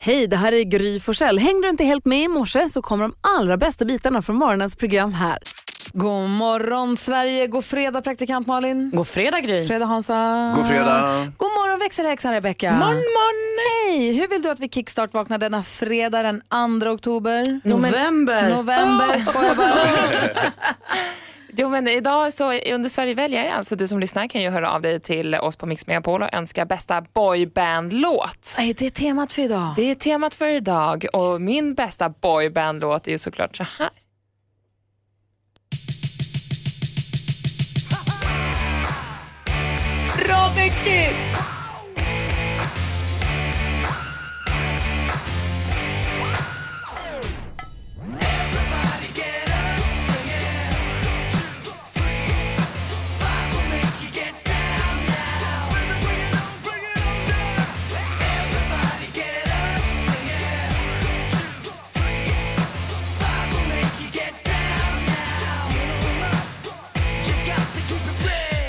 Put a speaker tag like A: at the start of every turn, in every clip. A: Hej, det här är Gry Forssell. Hängde du inte helt med i morse så kommer de allra bästa bitarna från morgonens program här. God morgon Sverige, god fredag praktikant Malin.
B: God fredag Gry.
A: Fredag Hansa.
C: God fredag.
A: God morgon växelhäxan Rebecka.
B: Morgon, morgon.
A: Hej, hur vill du att vi kickstart vaknar denna fredag den 2 oktober?
B: November.
A: November, Ah! skojar bara.
D: Jo, men idag så under Sverige väljer, alltså du som lyssnar kan ju höra av dig till oss på Mix Megapol och önska bästa boybandlåt.
A: Nej, det är temat för idag.
D: Det är temat för idag och min bästa boybandlåt är ju såklart så här. Robin Kiss!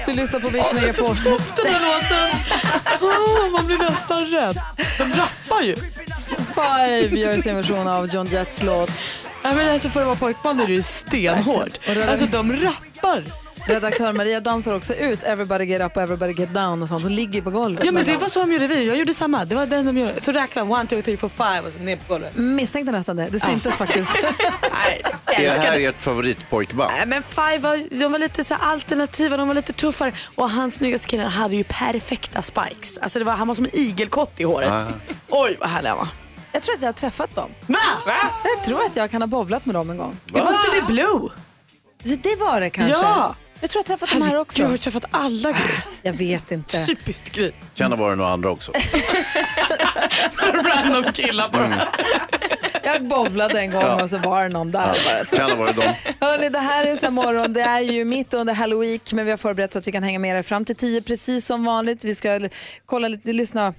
A: Du lyssnar på Mix Megapol.
B: Den här låten. Åh, man blir nästan rädd. De rappar ju.
A: Five gör sin version av John Jets låt.
B: Nej, men alltså för att vara pojkband är det ju stenhårt.
A: Och redan-
B: Alltså de rappar.
A: Redaktör Maria dansar också ut Everybody Get Up och Everybody Get Down och sånt och ligger på golvet.
B: Ja men det var så de gjorde vi. Jag gjorde samma. Det var den de gjorde. Så räknade de 1, 2, 3, 4, 5 och så ner på golvet.
A: Misstänkte nästan det. Det syntes faktiskt.
B: Nej,
C: Är det
B: älskar
C: här
B: det.
C: ert favoritpojkband?
B: Nej, Men Five var, de var lite så här alternativa, de var lite tuffare och han snyggaste killen hade ju perfekta spikes. Alltså det var, han var som en igelkott i håret. Oj vad härlig han var.
A: Jag tror att jag har träffat dem.
B: Va?
A: Jag tror att jag kan ha bowlat med dem en gång.
B: Det var inte det Blue?
A: Det var det kanske.
B: Ja.
A: Jag tror jag har träffat dem här
B: Gud, jag har
A: också.
B: träffat alla grejer.
A: Jag vet inte.
B: Typiskt grej.
C: Kan det vara några andra också?
B: Random killar
C: Mm,
B: bara.
A: Jag bowlade en gång och så var det någon där. Bara. Så.
C: Kan det vara dem?
A: Hörrni, det här är så här morgon. Det är ju mitt under Halloween, men vi har förberett så att vi kan hänga med er fram till tio precis som vanligt. Vi ska l- kolla lite, lyssna,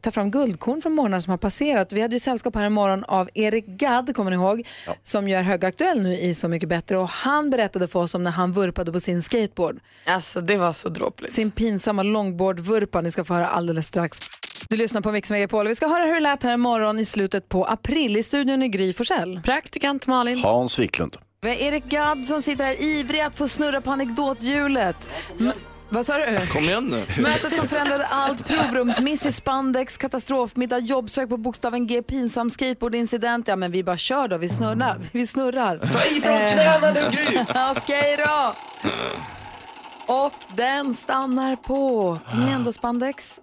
A: ta fram guldkorn från morgonen som har passerat. Vi hade ju sällskap här i morgon av Erik Gadd, kommer ni ihåg, som gör Högaktuell nu i Så mycket bättre. Och han berättade för oss om när han vurpade på sin skateboard.
D: Alltså det var så dråpligt.
A: Sin pinsamma longboardvurpa. Ni ska få höra alldeles strax. Du lyssnar på Mix Megapol. Vi ska höra hur det lät här i morgon i slutet på april i studion i Gry Forssell.
B: Praktikant Malin.
C: Hans Wiklund.
A: Vi har Erik Gadd som sitter här ivrig att få snurra på anekdothjulet. M- Vad sa du?
E: Kom igen nu.
A: Mötet som förändrade allt, provrumsmiss i spandex, katastrofmiddag, jobbsök på bokstaven G, pinsam skateboardincident. Ja men vi bara kör då, vi snurrar. Vi snurrar. Eh,
E: Ta ifrån knäna nu Gry.
A: Okej då! Och den stannar på. Kom igen då spandex.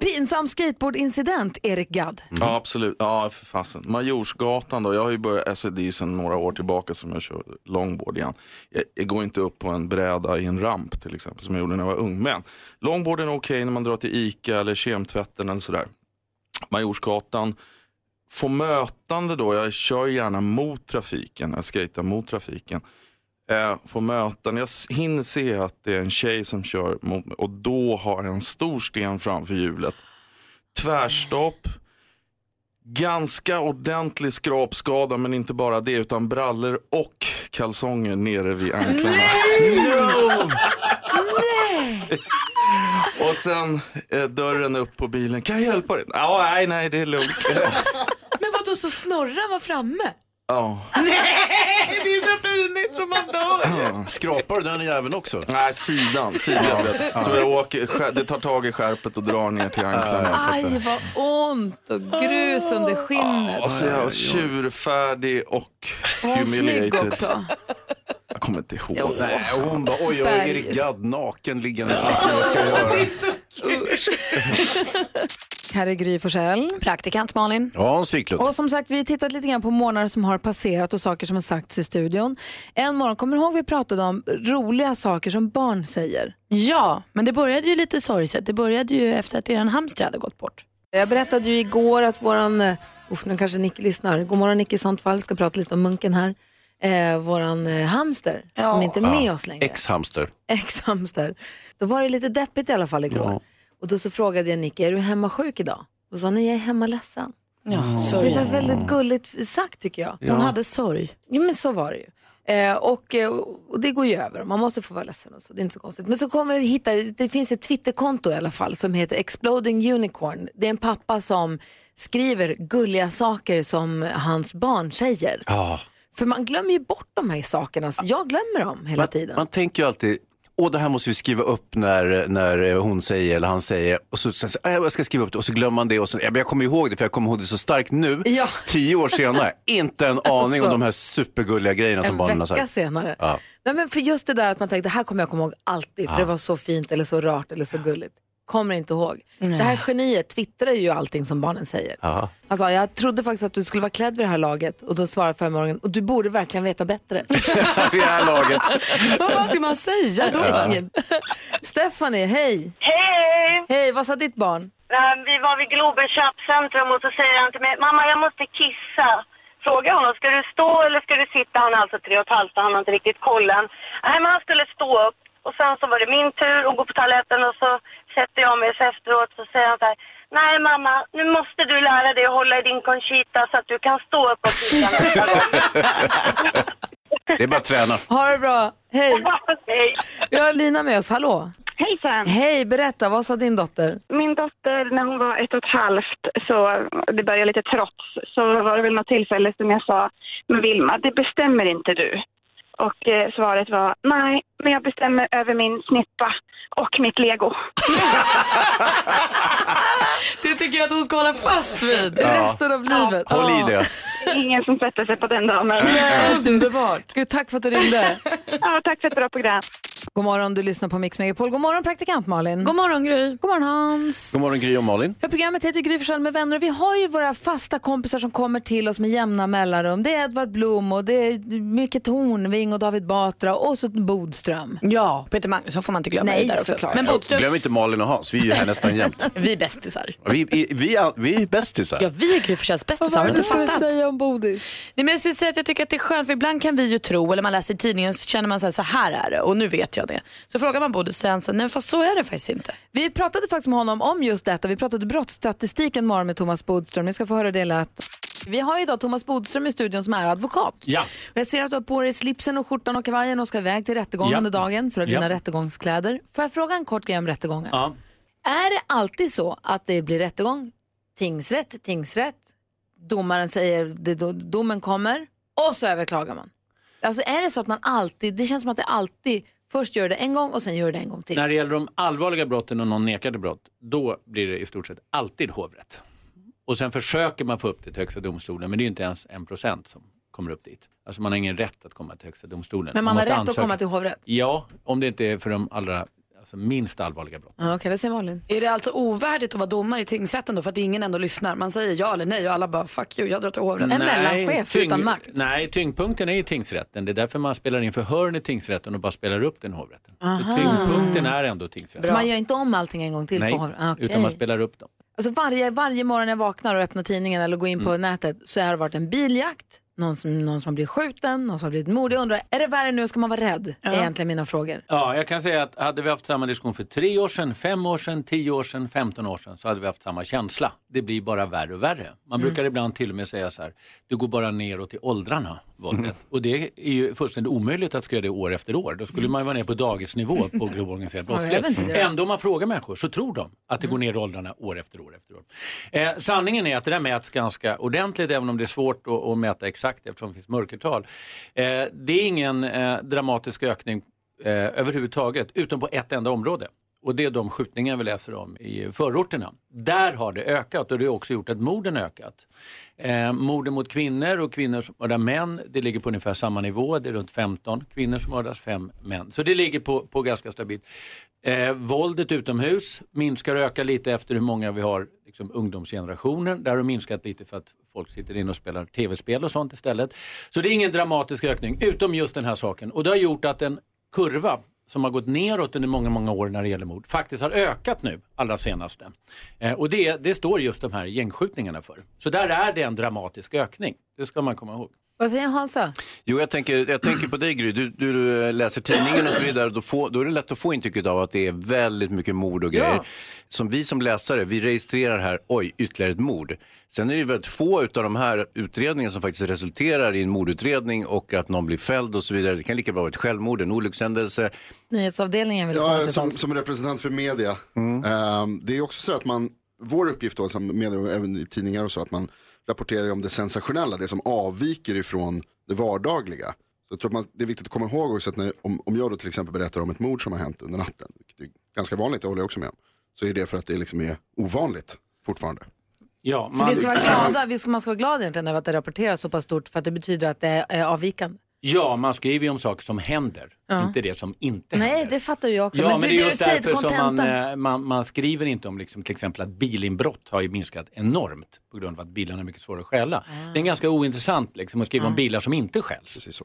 A: Pinsam skateboardincident, Erik Gadd.
E: Ja absolut, ja för fasen. Majorsgatan då, jag har ju börjat, alltså det är ju sedan några år tillbaka som jag kör longboard igen. Jag, jag går inte upp på en bräda i en ramp till exempel som jag gjorde när jag var ung. Men longboarden är okej när man drar till ICA eller kemtvätten eller sådär. Majorsgatan, få mötande då, jag kör gärna mot trafiken, jag skejtar mot trafiken. eh, får möten. Jag s- hinner se att det är en tjej som kör mot mig och då har jag en stor sten framför hjulet. Tvärstopp. Ganska ordentlig skrapskada men inte bara det utan brallor och kalsonger nere vid anklarna. No! och sen eh, dörren upp på bilen. Kan jag hjälpa dig? Ja, nej, nej, det är lugnt.
B: Men vadå så Snorra var framme?
E: Ja.
B: Det är så pinigt som man dör.
C: Skrapar du den jäveln också?
E: Nej, sidan. sidan vet du. Så jag åker, skär- det tar tag i skärpet och drar ner till anklarna.
C: Äh.
E: fast det-
A: Aj vad ont och grus under skinnet.
E: Och så är jag tjurfärdig och
A: Och snygg
E: humiliated.
A: också.
E: Jag kommer inte ihåg.
A: Jo.
E: det.
C: Nej, hon bara, oj, jag är
A: Berg.
C: Erik Gadd naken liggande framför mig. Vad ska jag göra?
A: Här är Gry Forssell.
B: Praktikant Malin.
C: Ja, Hans Wiklund.
A: Och som sagt, vi har tittat lite grann på månader som har passerat och saker som har sagts i studion. En morgon, kommer du ihåg vi pratade om roliga saker som barn säger?
B: Ja, men det började ju lite sorgset. Det började ju efter att eran hamster hade gått bort.
A: Jag berättade ju igår att våran, eh, uff nu kanske Nicky lyssnar, god morgon Nicky Sandfall, ska prata lite om munken här. Eh, våran eh, hamster som inte är med oss längre.
C: Ex-hamster.
A: ex-hamster. Då var det lite deppigt i alla fall igår. Och då så frågade jag Nicky, är du hemma sjuk idag? Då sa han, nej jag är hemma ledsen.
B: Ja,
A: Det
B: sorg.
A: var väldigt gulligt sagt tycker jag.
B: Hon hade sorg.
A: Jo men så var det ju. Eh, och, eh, och det går ju över och man måste få vara ledsen och så, det är inte så konstigt. Men så kommer vi hitta, det finns ett Twitterkonto i alla fall som heter Exploding Unicorn. Det är en pappa som skriver gulliga saker som hans barn säger.
C: Ja.
A: För man glömmer ju bort de här sakerna, så jag glömmer dem hela
C: Man,
A: tiden.
C: man tänker ju alltid, åh det här måste vi skriva upp när, när eh, hon säger eller han säger. Och så, sen, så, "Ah, jag ska skriva upp det och så glömmer man det och så, ja, men jag kommer ihåg det för jag kommer ihåg det så starkt nu.
A: Ja.
C: Tio år senare, inte en aning
A: Alltså.
C: om de här supergulliga grejerna som barnen har
A: en vecka
C: sagt.
A: senare.
C: Ja.
A: Nej, men för just det där att man tänkte, det här kommer jag komma ihåg alltid för det var så fint eller så rart eller så gulligt. Kommer inte ihåg. Det här geniet twittrar ju allting som barnen säger.
C: Ja.
A: Han sa, jag trodde faktiskt att du skulle vara klädd vid det här laget och då svarade femåringen, och du borde verkligen veta bättre.
C: Vid det här laget.
B: Vad fan ska man säga då?
A: Ingen. Stephanie, hej!
F: Hej!
A: Hej, vad sa ditt barn?
F: Eh, Vi var vid Globen köpcentrum och så säger han till mig, mamma jag måste kissa. Fråga honom, ska du stå eller ska du sitta? Han är alltså tre och ett halvt och han har inte riktigt kollen. Nej men han skulle stå upp och sen så var det min tur att gå på toaletten och så sätter jag mig så efteråt så säger han så här, nej mamma nu måste du lära dig att hålla i din Conchita så att du kan stå upp och kissa nästa gång.
C: Det är bara att träna.
A: Ha det bra, hej!
F: Hej.
A: Vi har Lina med oss, hallå!
G: Hejsan!
A: Hej, berätta, vad sa din dotter?
G: Min dotter, när hon var ett och ett halvt, så det började lite trots, så var det väl något tillfälle som jag sa, men Vilma, det bestämmer inte du. Och eh, svaret var, nej, men jag bestämmer över min snippa och mitt lego.
B: Det tycker jag att hon ska hålla fast vid.
A: Resten av livet.
C: Håll i det.
G: Det är ingen som sätter sig på den damen.
A: Underbart! Gud, tack för att du ringde.
G: Ja, tack för ett bra program.
A: God morgon, du lyssnar på Mix Megapol. God morgon, praktikant Malin.
B: God morgon Gry.
A: God morgon, Hans.
C: God morgon Gry och Malin.
A: Ja, programmet heter Gry Forssell med vänner och vi har ju våra fasta kompisar som kommer till oss med jämna mellanrum. Det är Edvard Blom och det är Micke Tornving och David Batra och så Bodström.
B: Ja, Peter Magnusson får man inte glömma
A: Nej,
B: i det där också.
A: såklart.
B: Men Bodström,
C: Glöm inte Malin och Hans, vi är ju här nästan jämt.
B: vi är bästisar.
C: Vi, vi, vi, är, vi är bästisar.
B: Ja, vi är Gry Forssells bästisar. Har du inte fattat?
A: säga om Bodis?
B: Nej, men jag skulle säga att jag tycker att det är skönt för ibland kan vi ju tro, eller man läser i tidningen så känner man så här, så här är det och nu vet jag det. Så frågar man både sen, så, nej fast så är det faktiskt inte.
A: Vi pratade faktiskt med honom om just detta. Vi pratade brottsstatistik en morgon med Thomas Bodström. Ni ska få höra det lätt. Vi har ju idag Thomas Bodström i studion som är advokat.
H: Ja.
A: Och jag ser att du har på dig slipsen och skjortan och kavajen och ska iväg till rättegången
H: Ja.
A: under dagen för att dina
H: Ja.
A: rättegångskläder. Får jag fråga en kort grej om rättegången?
H: Ja.
A: Är det alltid så att det blir rättegång, tingsrätt, tingsrätt, domaren säger, det, do- domen kommer och så överklagar man? Alltså är det så att man alltid, det känns som att det alltid, först gör det en gång och sen gör det en gång till.
H: När det gäller de allvarliga brotten och någon nekar till brott, då blir det i stort sett alltid hovrätt. Och sen försöker man få upp det till Högsta domstolen, men det är ju inte ens en procent som kommer upp dit. Alltså man har ingen rätt att komma till Högsta domstolen.
A: Men man har
H: måste
A: rätt att
H: ansöka.
A: komma till hovrätt.
H: Ja, om det inte är för de allra alltså minst allvarliga brotten.
A: Ja, Okej, vad säger Malin?
B: Är det alltså ovärdigt att vara domare i tingsrätten då för att ingen ändå lyssnar? Man säger ja eller nej och alla bara fuck you, jag drar till hovrätten.
A: En mellanchef utan makt.
H: Nej, tyngdpunkten är i tingsrätten. Det är därför man spelar in förhören i tingsrätten och bara spelar upp den i hovrätten. Så tyngdpunkten är ändå tingsrätten.
A: Så man gör inte om allting en gång till?
H: Nej,
A: för hovrätt? Ah, okej.
H: utan man spelar upp dem.
A: Alltså varje, varje morgon jag vaknar och öppnar tidningen eller går in
H: Mm.
A: på nätet så har det varit en biljakt, någon som, någon som har blivit skjuten, någon som har blivit mordig. Jag undrar, är det värre nu? Ska man vara rädd? Är egentligen mina frågor.
H: Ja, jag kan säga att hade vi haft samma diskussion för tre år sedan, fem år sedan, tio år sedan, femton år sedan så hade vi haft samma känsla. Det blir bara värre och värre. Man brukar ibland till och med säga så här, det går bara neråt i åldrarna, våldet. Och det är ju fullständigt omöjligt att ska göra det år efter år. Då skulle man ju vara ner på dagisnivå på grov organiserad
A: jag vet inte Mm.
H: brottslighet.
A: det.
H: Ändå om man frågar människor så tror de att det går ner i åldrarna år efter år. efter år. Eh, sanningen är att det där mäts ganska ordentligt även om det är svårt att, att mäta exakt eftersom det finns mörkertal. Eh, det är ingen eh, dramatisk ökning eh, överhuvudtaget utom på ett enda område. Och det är de skjutningar vi läser om i förorterna. Där har det ökat och det har också gjort att morden ökat. Eh, morden mot kvinnor och kvinnor som mördar män, det ligger på ungefär samma nivå. Det är runt 15 kvinnor som mördas, 5 män. Så det ligger på, på ganska stabilt. Eh, våldet utomhus minskar och ökar lite efter hur många vi har liksom, ungdomsgenerationen. Där har det minskat lite för att folk sitter inne och spelar tv-spel och sånt istället. Så det är ingen dramatisk ökning, utom just den här saken. Och det har gjort att en kurva som har gått neråt under många, många år när det gäller mord faktiskt har ökat nu, allra senaste. Eh, och det, det står just de här gängskjutningarna för. Så där är det en dramatisk ökning, det ska man komma ihåg.
A: Vad säger Hansa?
C: Jo, jag tänker, jag tänker på dig Gry. Du, du, du läser tidningen och så vidare. Då, får, då är det lätt att få intrycket av att det är väldigt mycket mord och grejer. Som vi som läsare, vi registrerar här, oj, ytterligare ett mord. Sen är det väldigt få av de här utredningarna som faktiskt resulterar i en mordutredning och att någon blir fälld och så vidare. Det kan lika bra vara ett självmord, en olyckshändelse.
A: Nyhetsavdelningen vill komma
I: Ja,
A: till
I: som,
A: tals.
I: som representant för media. Ehm, det är också så att man, vår uppgift då, som media och även i tidningar och så, att man rapporterar om det sensationella, det som avviker ifrån det vardagliga. Så jag tror att man, det är viktigt att komma ihåg också att när, om, om jag då till exempel berättar om ett mord som har hänt under natten, vilket är ganska vanligt, det håller jag också med om, så är det för att det liksom är ovanligt fortfarande.
H: Ja,
A: Så
H: man-
A: vi ska vara glada, vi ska, man ska vara glad egentligen över att det rapporteras så pass stort för att det betyder att det är avvikande.
H: Ja, man skriver ju om saker som händer, inte det som inte händer.
A: Nej, det fattar ju jag också.
H: Ja, men, det är
A: du
H: just
A: säger,
H: därför som man,
A: kontentan.
H: eh, man, man skriver inte om liksom, till exempel att bilinbrott har ju minskat enormt på grund av att bilarna är mycket svåra att stjäla. Det är ganska ointressant liksom, att skriva om bilar som inte stjäls.
I: Precis så.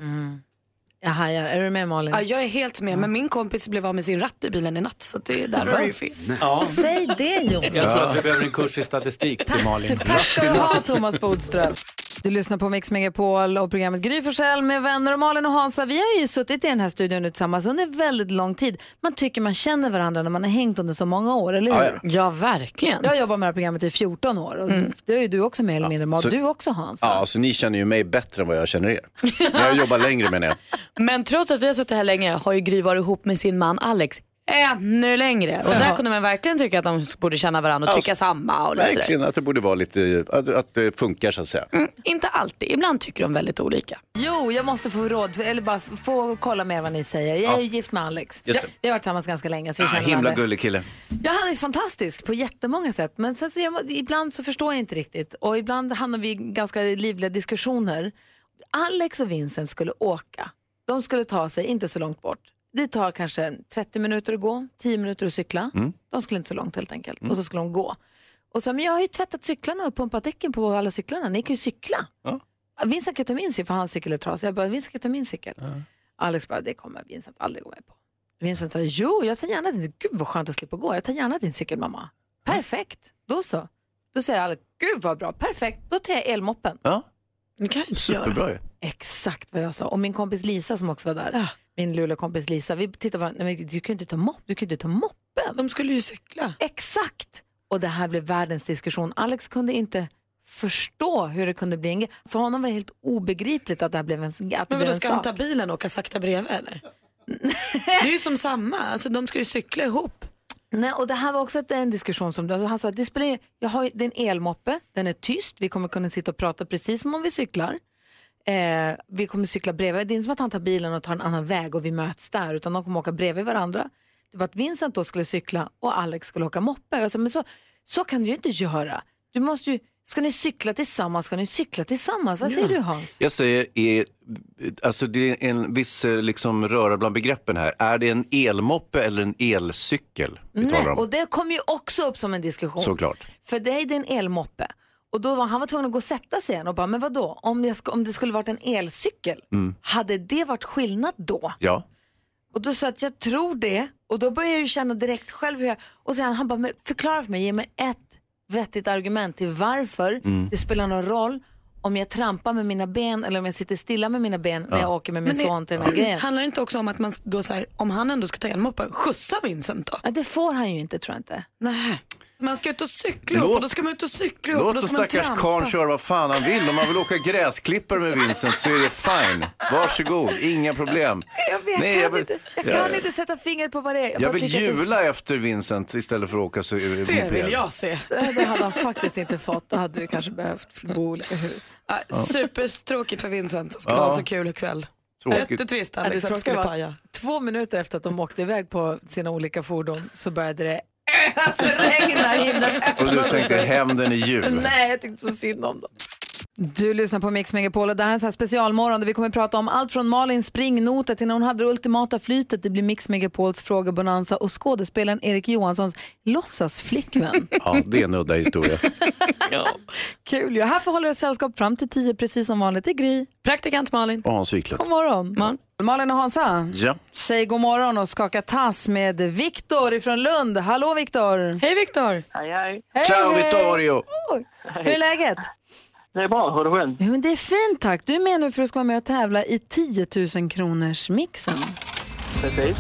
A: Jag hajar. Mm. Är du med Malin?
B: Ja, jag är helt med, men min kompis blev av med sin ratt i bilen i natt så att det, där har du ju fel.
H: Ja.
A: Säg det Jonas.
H: Jag tror att vi behöver en kurs i statistik till Malin.
A: Tack ska du ha Thomas Bodström. Du lyssnar på Mix Megapol och programmet Gry Forssell med vänner och Malin och Hansa. Vi har ju suttit i den här studion nu tillsammans under väldigt lång tid. Man tycker man känner varandra när man har hängt under så många år, eller hur?
B: Ja, verkligen.
A: Jag har jobbat med det här programmet i 14 år och det är ju du också mer eller mindre Malin.
C: Mm. så-
A: Du också Hansa.
C: Ja, så ni känner ju mig bättre än vad jag känner er. Jag jobbar längre menar jag.
B: Men trots att vi har suttit här länge har ju Gry varit ihop med sin man Alex ännu längre. Och där kunde man verkligen tycka att de borde känna varandra och tycka samma. Och lite sådär.
C: Verkligen att det borde vara lite, att, att det funkar så att säga.
B: Inte alltid, ibland tycker de väldigt olika.
A: Jo, jag måste få råd, eller bara f- få kolla mer vad ni säger. Jag är ju gift med Alex.
C: Just det.
A: Vi har varit tillsammans ganska länge så Alltså, vi
C: Ah,
A: känner
C: himla
A: varandra.
C: gullig kille.
A: Ja, han är fantastisk på jättemånga sätt. Men sen så, jag, ibland så förstår jag inte riktigt och ibland hamnar vi i ganska livliga diskussioner. Alex och Vincent skulle åka. De skulle ta sig inte så långt bort. Det tar kanske 30 minuter att gå, 10 minuter att cykla. De skulle inte så långt helt enkelt.
C: Mm.
A: Och så skulle de gå. Och så, men jag har ju tvättat cyklarna och pumpat däcken på alla cyklarna. Ni kan ju cykla. Vincent kan ta min cykel, för hans cykel är trasig. Jag bara, Vincent kan ta min cykel. Alex bara, det kommer Vincent aldrig gå med på. Vincent sa, jo, jag tar gärna din, gud vad skönt att slippa gå, jag tar gärna din cykel mamma. Perfekt, då så. Då säger Alex, gud vad bra, perfekt, då tar jag elmoppen.
C: Ja,
B: Det kan jag inte göra.
C: superbra ju.
A: Exakt vad jag sa. Och min kompis Lisa som också var där, min lilla kompis Lisa, vi tittade på varandra, nej men du kan ju inte ta mopp, du kan ju inte ta moppen.
B: De skulle ju cykla.
A: Exakt! Och det här blev världens diskussion. Alex kunde inte förstå hur det kunde bli en grej. För honom var det helt obegripligt att det här blev en, att det
B: Men
A: blev
B: då
A: en
B: ska
A: sak.
B: han ta bilen och åka sakta bredvid eller? Det är ju som samma, alltså, de ska ju cykla ihop.
A: Nej, och det här var också ett, en diskussion som han sa att det spelar, ingen- jag har, ju- det är en elmoppe, den är tyst, vi kommer kunna sitta och prata precis som om vi cyklar. Eh, vi kommer cykla bredvid, det är inte som att han tar bilen och tar en annan väg och vi möts där, utan de kommer åka bredvid varandra. Det var att Vincent då skulle cykla och Alex skulle åka moppe. Jag sa, men så, så kan du ju inte göra. Du måste ju, ska ni cykla tillsammans, ska ni cykla tillsammans? Vad säger du Hans?
C: Jag säger, är, alltså det är en viss eh, liksom, röra bland begreppen här. Är det en elmoppe eller en elcykel vi
B: Mm.
A: Nej,
C: talar om?
A: och det kom ju också upp som en diskussion.
C: Såklart.
A: För dig det är en elmoppe. Och då var han var tvungen att gå och sätta sig igen och bara, men vadå, om, jag ska, om det skulle varit en elcykel,
C: Mm.
A: hade det varit skillnad då?
C: Ja.
A: Och då sa jag att jag tror det. Och då började jag ju känna direkt själv hur jag... Och sen han bara, men förklara för mig, ge mig ett vettigt argument till varför
C: Mm.
A: det spelar någon roll om jag trampar med mina ben eller om jag sitter stilla med mina ben när jag åker med min
B: Men det-
A: son till den här grejen.
B: Handlar det inte också om att man då så här, om han ändå ska ta elmoppen, skjutsa Vincent då?
A: Ja, det får han ju inte tror jag inte.
B: Nej. Man ska ut och cykla
C: Låt-
B: ihop och då ska man ut och cykla ihop och
C: Låt
B: då
C: den
B: ska man
C: stackars
B: trampa.
C: karln köra vad fan han vill. Om han vill åka gräsklippare med Vincent så är det fine. Varsågod, inga problem.
A: Jag vet,
C: Nej,
A: jag
C: jag
A: kan,
C: vill-
A: inte, jag kan
C: jag-
A: inte sätta fingret på vad det är.
C: Jag
A: bara
C: vill
A: tycker att det-
C: jula efter Vincent istället för att åka så eh, moped.
B: Det vill jag se.
A: Nej, Det hade han faktiskt inte fått. Då hade vi kanske behövt bo i olika hus.
B: Ja. Supertråkigt för Vincent som skulle
C: Ja.
B: ha så kul ikväll.
C: Tråkigt.
B: Jättetrist
A: Ja, det
B: Alex att
A: tråkiga
B: du skulle
A: var-
B: paja.
A: Två minuter efter att de åkte iväg på sina olika fordon så började det ösregna. Himlen
C: Och du
A: öppnade
C: tänkte
A: sig.
C: hämnden i jul.
A: Nej, jag tyckte så synd om dem. Du lyssnar på Mix Megapol och det här är en sån här specialmorgon där vi kommer prata om allt från Malins springnota till när hon hade det ultimata flytet. Det blir Mix Megapols frågebonanza och skådespelaren Erik Johanssons låtsasflickvän.
C: Ja, det är en udda historia.
A: Kul ju. Här får hålla er sällskap fram till tio precis som vanligt i Gry.
B: Praktikant Malin.
C: Och Hans Wiklund.
A: God morgon.
B: Morgon.
A: Malin och Hansa.
C: Ja.
A: Säg god morgon och skaka tass med Viktor ifrån Lund. Hallå Viktor!
B: Hej Viktor.
F: Hej, hej.
A: Hej,
C: Ciao
A: hej.
C: Vittorio!
A: Hur är läget?
J: Det är bra, hur är det själv?
A: Jo, men det är fint tack. Du är med nu för att ska vara med och tävla i 10 000 kronors mixen.
J: Precis.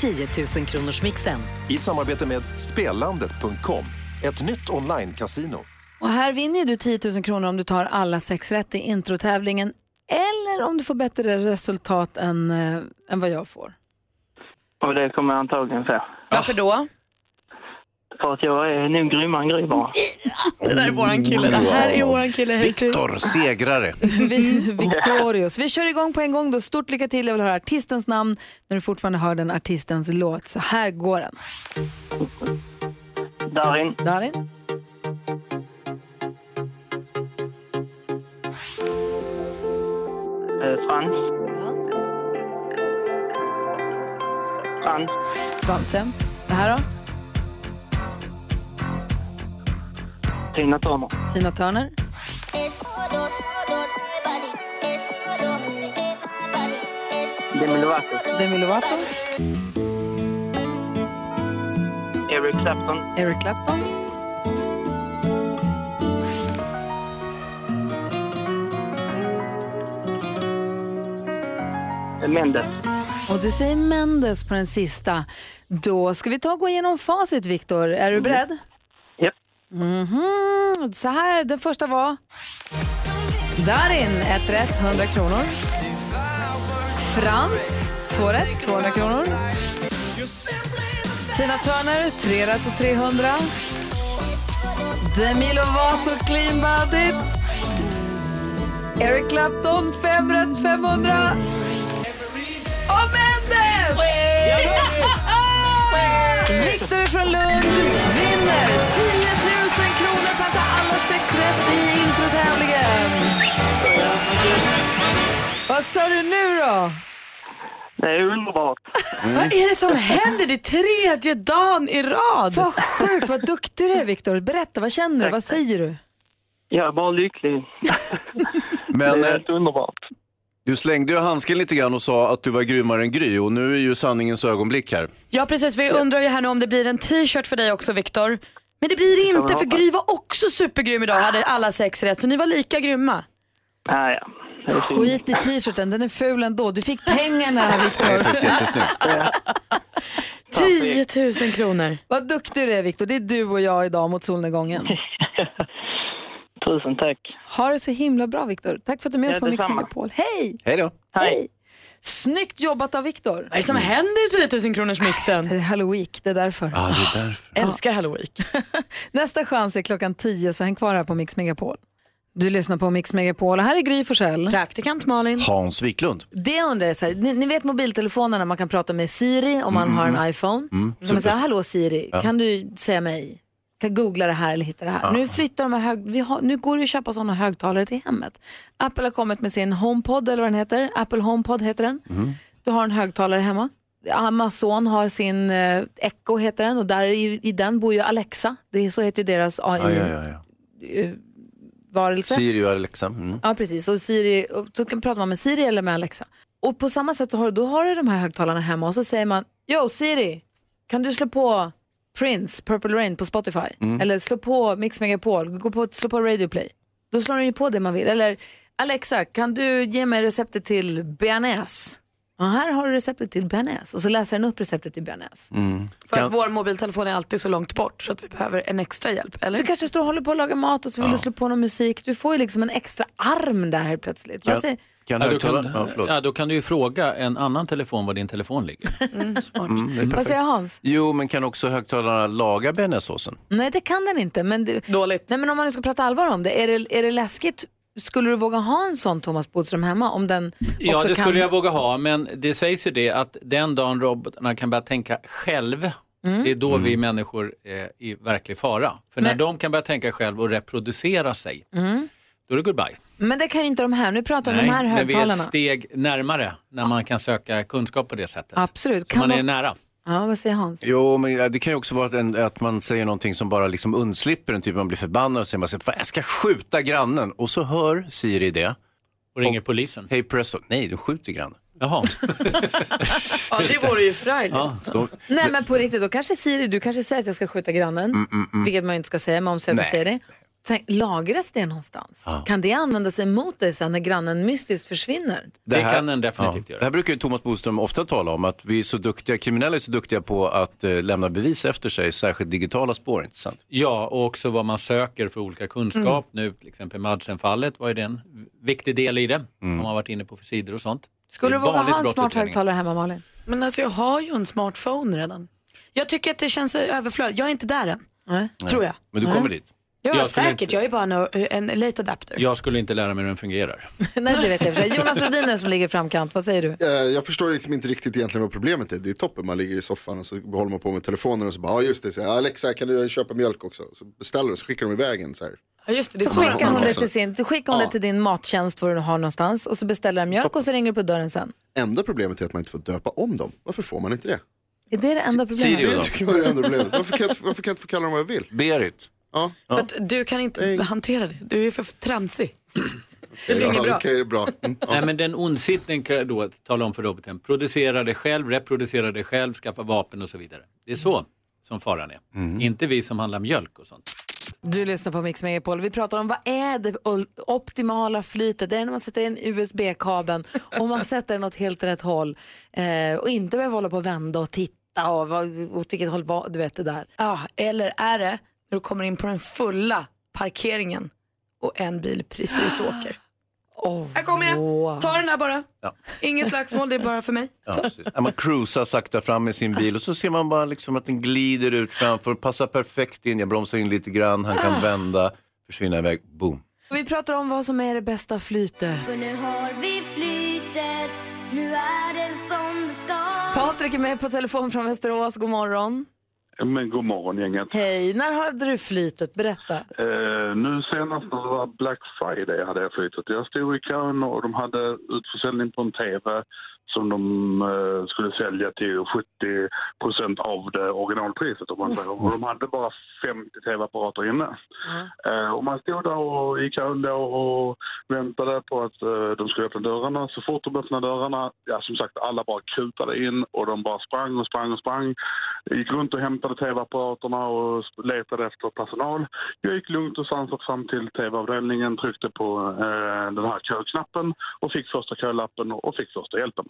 K: 10 000 kronors mixen.
L: I samarbete med Spellandet.com, ett nytt online-casino.
A: Och här vinner ju du 10 000 kronor om du tar alla sex rätt i introtävlingen eller om du får bättre resultat än, eh, än vad jag får.
J: Och det kommer jag antagligen få.
D: Varför då?
J: För att jag är nog grymmare än grym bara.
B: Det där är våran kille. Det här är våran kille.
C: Viktor, segrare.
A: Vi- Victorious. Vi kör igång på en gång då. Stort lycka till. Jag vill höra artistens namn när du fortfarande hör den artistens låt. Så här går den.
J: Darin,
A: Darin?
J: eh, Frans. Frans,
A: Danse. Det här då?
J: Tina Turner.
A: Tina Turner?
J: Demi Lovato.
A: Demi Lovato?
J: Eric Clapton.
A: Eric Clapton?
J: Mendes.
A: Och du säger Mendes på den sista. Då ska vi ta och gå igenom facit, Viktor. Är du beredd?
J: Japp.
A: Mhm. Så här, den första var... Darin, ett rätt, 100 kronor. Frans, två rätt, 200 kronor. Tina Turner, tre rätt och 300. Demi Lovato, Clean Bandit. Eric Clapton, fem rätt, 500. Och Mendes! Viktor från Lund vinner 10 000 kronor för att ta alla sex rätt i introtävlingen. Vad sa du nu då?
J: Det är underbart.
B: Vad är det som händer? Det är tredje dagen i rad.
A: Vad sjukt, vad duktig du är Viktor. Berätta, vad känner du? Vad säger du?
J: Jag är bara lycklig. Det
C: Men
J: är
C: eh,
J: helt underbart.
C: du slängde ju handsken lite grann och sa att du var grymmare än Gry och nu är ju sanningens ögonblick här.
B: Ja precis, vi undrar ju här nu om det blir en t-shirt för dig också Viktor. Men det blir det inte för Gry var också supergrym idag och hade alla sex rätt så ni var lika grymma.
J: Ah, ja. Det är synd.
A: Skit i t-shirten, den är ful ändå. Du fick pengarna
C: Det är
A: Viktor.
C: faktiskt jättesnyggt.
B: 10 000 kronor.
A: Vad duktig du är Viktor. Det är du och jag idag mot solnedgången.
J: Tusen tack.
A: Ha det så himla bra Viktor. Tack för att du är med oss
J: Ja,
A: på Mix
J: detsamma.
A: Megapol. Hej!
C: Hej då.
J: Hej. Mm.
A: Snyggt jobbat av Viktor.
B: Vad är det som händer i 10 000 kronors mixen?
A: Det är Halloween, det är därför.
C: Ja, det är därför.
B: Älskar halloween.
A: Nästa chans är klockan 10 så häng kvar här på Mix Megapol. Du lyssnar på Mix Megapol och här är Gry Forssell.
B: Praktikant Malin.
C: Hans Wiklund.
A: Det undrar jag, så här, ni, ni vet mobiltelefonerna man kan prata med Siri om man har en
C: Mm.
A: iPhone. Så man säger, hallå Siri, kan du säga mig, kan googla det här eller hitta det här. Nu flyttar de här hög, vi har, nu går det ju att köpa sådana högtalare till hemmet. Apple har kommit med sin HomePod eller vad den heter, Apple HomePod heter den. Du har en högtalare hemma. Amazon har sin eh, Echo heter den och där i, i den bor ju Alexa. Det är, så heter ju deras eh,
C: Ja, ja, ja, ja.
A: AI-varelse.
C: Siri och Alexa. Mm.
A: Ja, precis. Och Siri, och så kan prata man med Siri eller med Alexa. Och på samma sätt så har, då har du de här högtalarna hemma och så säger man, Yo Siri, kan du slå på Prince, Purple Rain på Spotify? Eller slå på Mix Megapol, gå på, slå på Radio Play. Då slår den ju på det man vill. Eller Alexa, kan du ge mig receptet till bearnaise? Ja, här har du receptet till bearnaise. Och så läser den upp receptet till bearnaise.
B: För
C: Mm. Kan-
B: att vår mobiltelefon är alltid så långt bort så att vi behöver en extra hjälp, eller?
A: Du kanske står och håller på att laga mat och så vill du slå på någon musik. Du får ju liksom en extra arm där helt plötsligt. Jag säger,
C: Kan
H: Ja,
C: du
H: då,
C: uttala?
H: kan,
C: Ja, förlåt.
H: ja, då kan du ju fråga en annan telefon var din telefon ligger.
C: Mm, det är
A: vad
C: perfekt.
A: säger Hans?
C: Jo, men kan också högtalarna laga bearnaisesåsen?
A: Nej, det kan den inte. Men du,
B: Dåligt.
A: Nej men om man nu ska prata allvar om det, är det, är det läskigt? Skulle du våga ha en sån Thomas Bodström hemma om den också
H: Ja, det
A: kan...
H: skulle jag våga ha, men det sägs ju det att den dagen robotarna kan börja tänka själv, det är då
C: Mm.
H: vi människor är i verklig fara. För när
A: Mm. Men-
H: de kan börja tänka själv och reproducera sig, då är det goodbye.
A: Mm. Men det kan ju inte de här, nu pratar vi om de här
H: men vi är
A: högtalarna.
H: ett steg närmare när man kan söka kunskap på det sättet.
A: Absolut.
H: Så
A: Kan
H: man är
A: de-
H: nära.
A: Ja, vad säger Hans?
C: Jo, men eh, det kan ju också vara att, en, att man säger någonting som bara liksom undslipper en, typ man blir förbannad och säger man så här, "Fan, jag ska skjuta grannen och så hör Siri det.
H: Och ringer polisen.
C: Hej presto, nej du skjuter grannen.
H: Jaha.
B: Ja, det vore ju förargligt.
C: Då,
A: Nej men på riktigt, då kanske Siri, du kanske säger att jag ska skjuta grannen, vilket man ju inte ska säga, men om säger att du
C: Mm, Nej.
A: säger det. Sen, lagras det någonstans?
C: Ja.
A: Kan det användas emot dig sen när grannen mystiskt försvinner?
H: Det kan den definitivt
C: göra. Det här brukar ju Thomas Bodström ofta tala om, att vi är så duktiga, kriminella är så duktiga på att eh, lämna bevis efter sig, särskilt digitala spår, inte sant?
H: Ja, och också vad man söker för olika kunskap. Nu till exempel Madsen-fallet var ju det en viktig del i det. Om man varit inne på för sidor och sånt.
A: Skulle du
H: Det är
A: våga
H: vanligt
A: ha en smart
H: brottsutredning.
A: högtalare hemma Malin?
B: Men alltså jag har ju en smartphone redan. Jag tycker att det känns överflödigt. Jag är inte där än. Tror jag.
C: Men du
B: Nej.
C: kommer dit.
B: Ja,
H: Jag skulle
B: säkert. Jag är bara en, en late adapter.
H: Jag skulle inte lära mig hur den fungerar.
A: Nej, det vet jag i och för sig. Jonas Rhodiner som ligger i framkant, vad säger du?
I: Eh, Jag förstår liksom inte riktigt egentligen vad problemet är. Det är toppen, man ligger i soffan och så håller man på med telefonen och så bara, ja just det, så här, Alexa kan du köpa mjölk också? Så beställer du så skickar de iväg en så här.
B: Ja, just det,
A: Så
I: som
A: skickar
I: en
A: hon det
I: också.
A: till, sin, så skickar hon det till din mattjänst, var du nu har någonstans, och så beställer den mjölk och så ringer du på dörren sen.
I: Enda problemet är att man inte får döpa om dem. Varför får man inte det?
A: Är det det enda problemet?
I: Det tycker jag är det enda problemet. Varför kan jag inte, varför kan jag inte få kalla dem vad jag vill?
C: Berit.
I: Ja.
B: För att du kan inte hantera det. Du är för tramsig.
I: Det
B: blir inget bra.
I: Okej, bra. Mm, ja.
H: Nej, men den ondsinten kan då tala om för roboten, producera det själv, reproducera det själv, skaffa vapen och så vidare. Det är så som faran är. Inte vi som handlar mjölk och sånt.
A: Du lyssnar på Mix Megapol. Vi pratar om vad är det o- optimala flytet? Det är när man sätter in USB-kabeln och man sätter den åt helt rätt håll eh, och inte behöver hålla på och vända och titta och vad, åt vilket håll var, du vet det där.
B: Ja, eller är det när du kommer in på den fulla parkeringen och en bil precis åker?
A: Oh,
B: Här kommer jag, ta den här bara.
C: Ja.
B: Inget slagsmål, det är bara för mig.
C: Ja, precis. Ja, man cruisar sakta fram i sin bil och så ser man bara liksom att den glider ut framför, passar perfekt in, jag bromsar in lite grann, han
M: Ah.
C: kan vända, försvinna iväg, boom.
A: Vi pratar om vad som är det bästa flytet.
K: För nu har vi flytet, nu är det som det ska
A: Patrik är med på telefon från Västerås. God morgon.
M: Men god morgon gänget.
A: Hej, när hade du flytet? Berätta.
M: Eh, nu senast när det var Black Friday hade jag flyttat. Jag stod i kön och de hade utförsäljning på en TV som de eh, skulle sälja till 70 procent av det originalpriset. Om man säger. Och de hade bara 50 TV-apparater inne. Eh, och man stod där och i kön då och väntade på att eh, de skulle öppna dörrarna. Så fort de öppnade dörrarna, ja som sagt, alla bara kutade in och de bara sprang och sprang och sprang. Gick runt och hämtade tv-apparaterna och sp- letade efter personal. Jag gick lugnt och sansat fram till tv-avdelningen, tryckte på eh, den här köknappen och fick första kölappen och fick första hjälpen.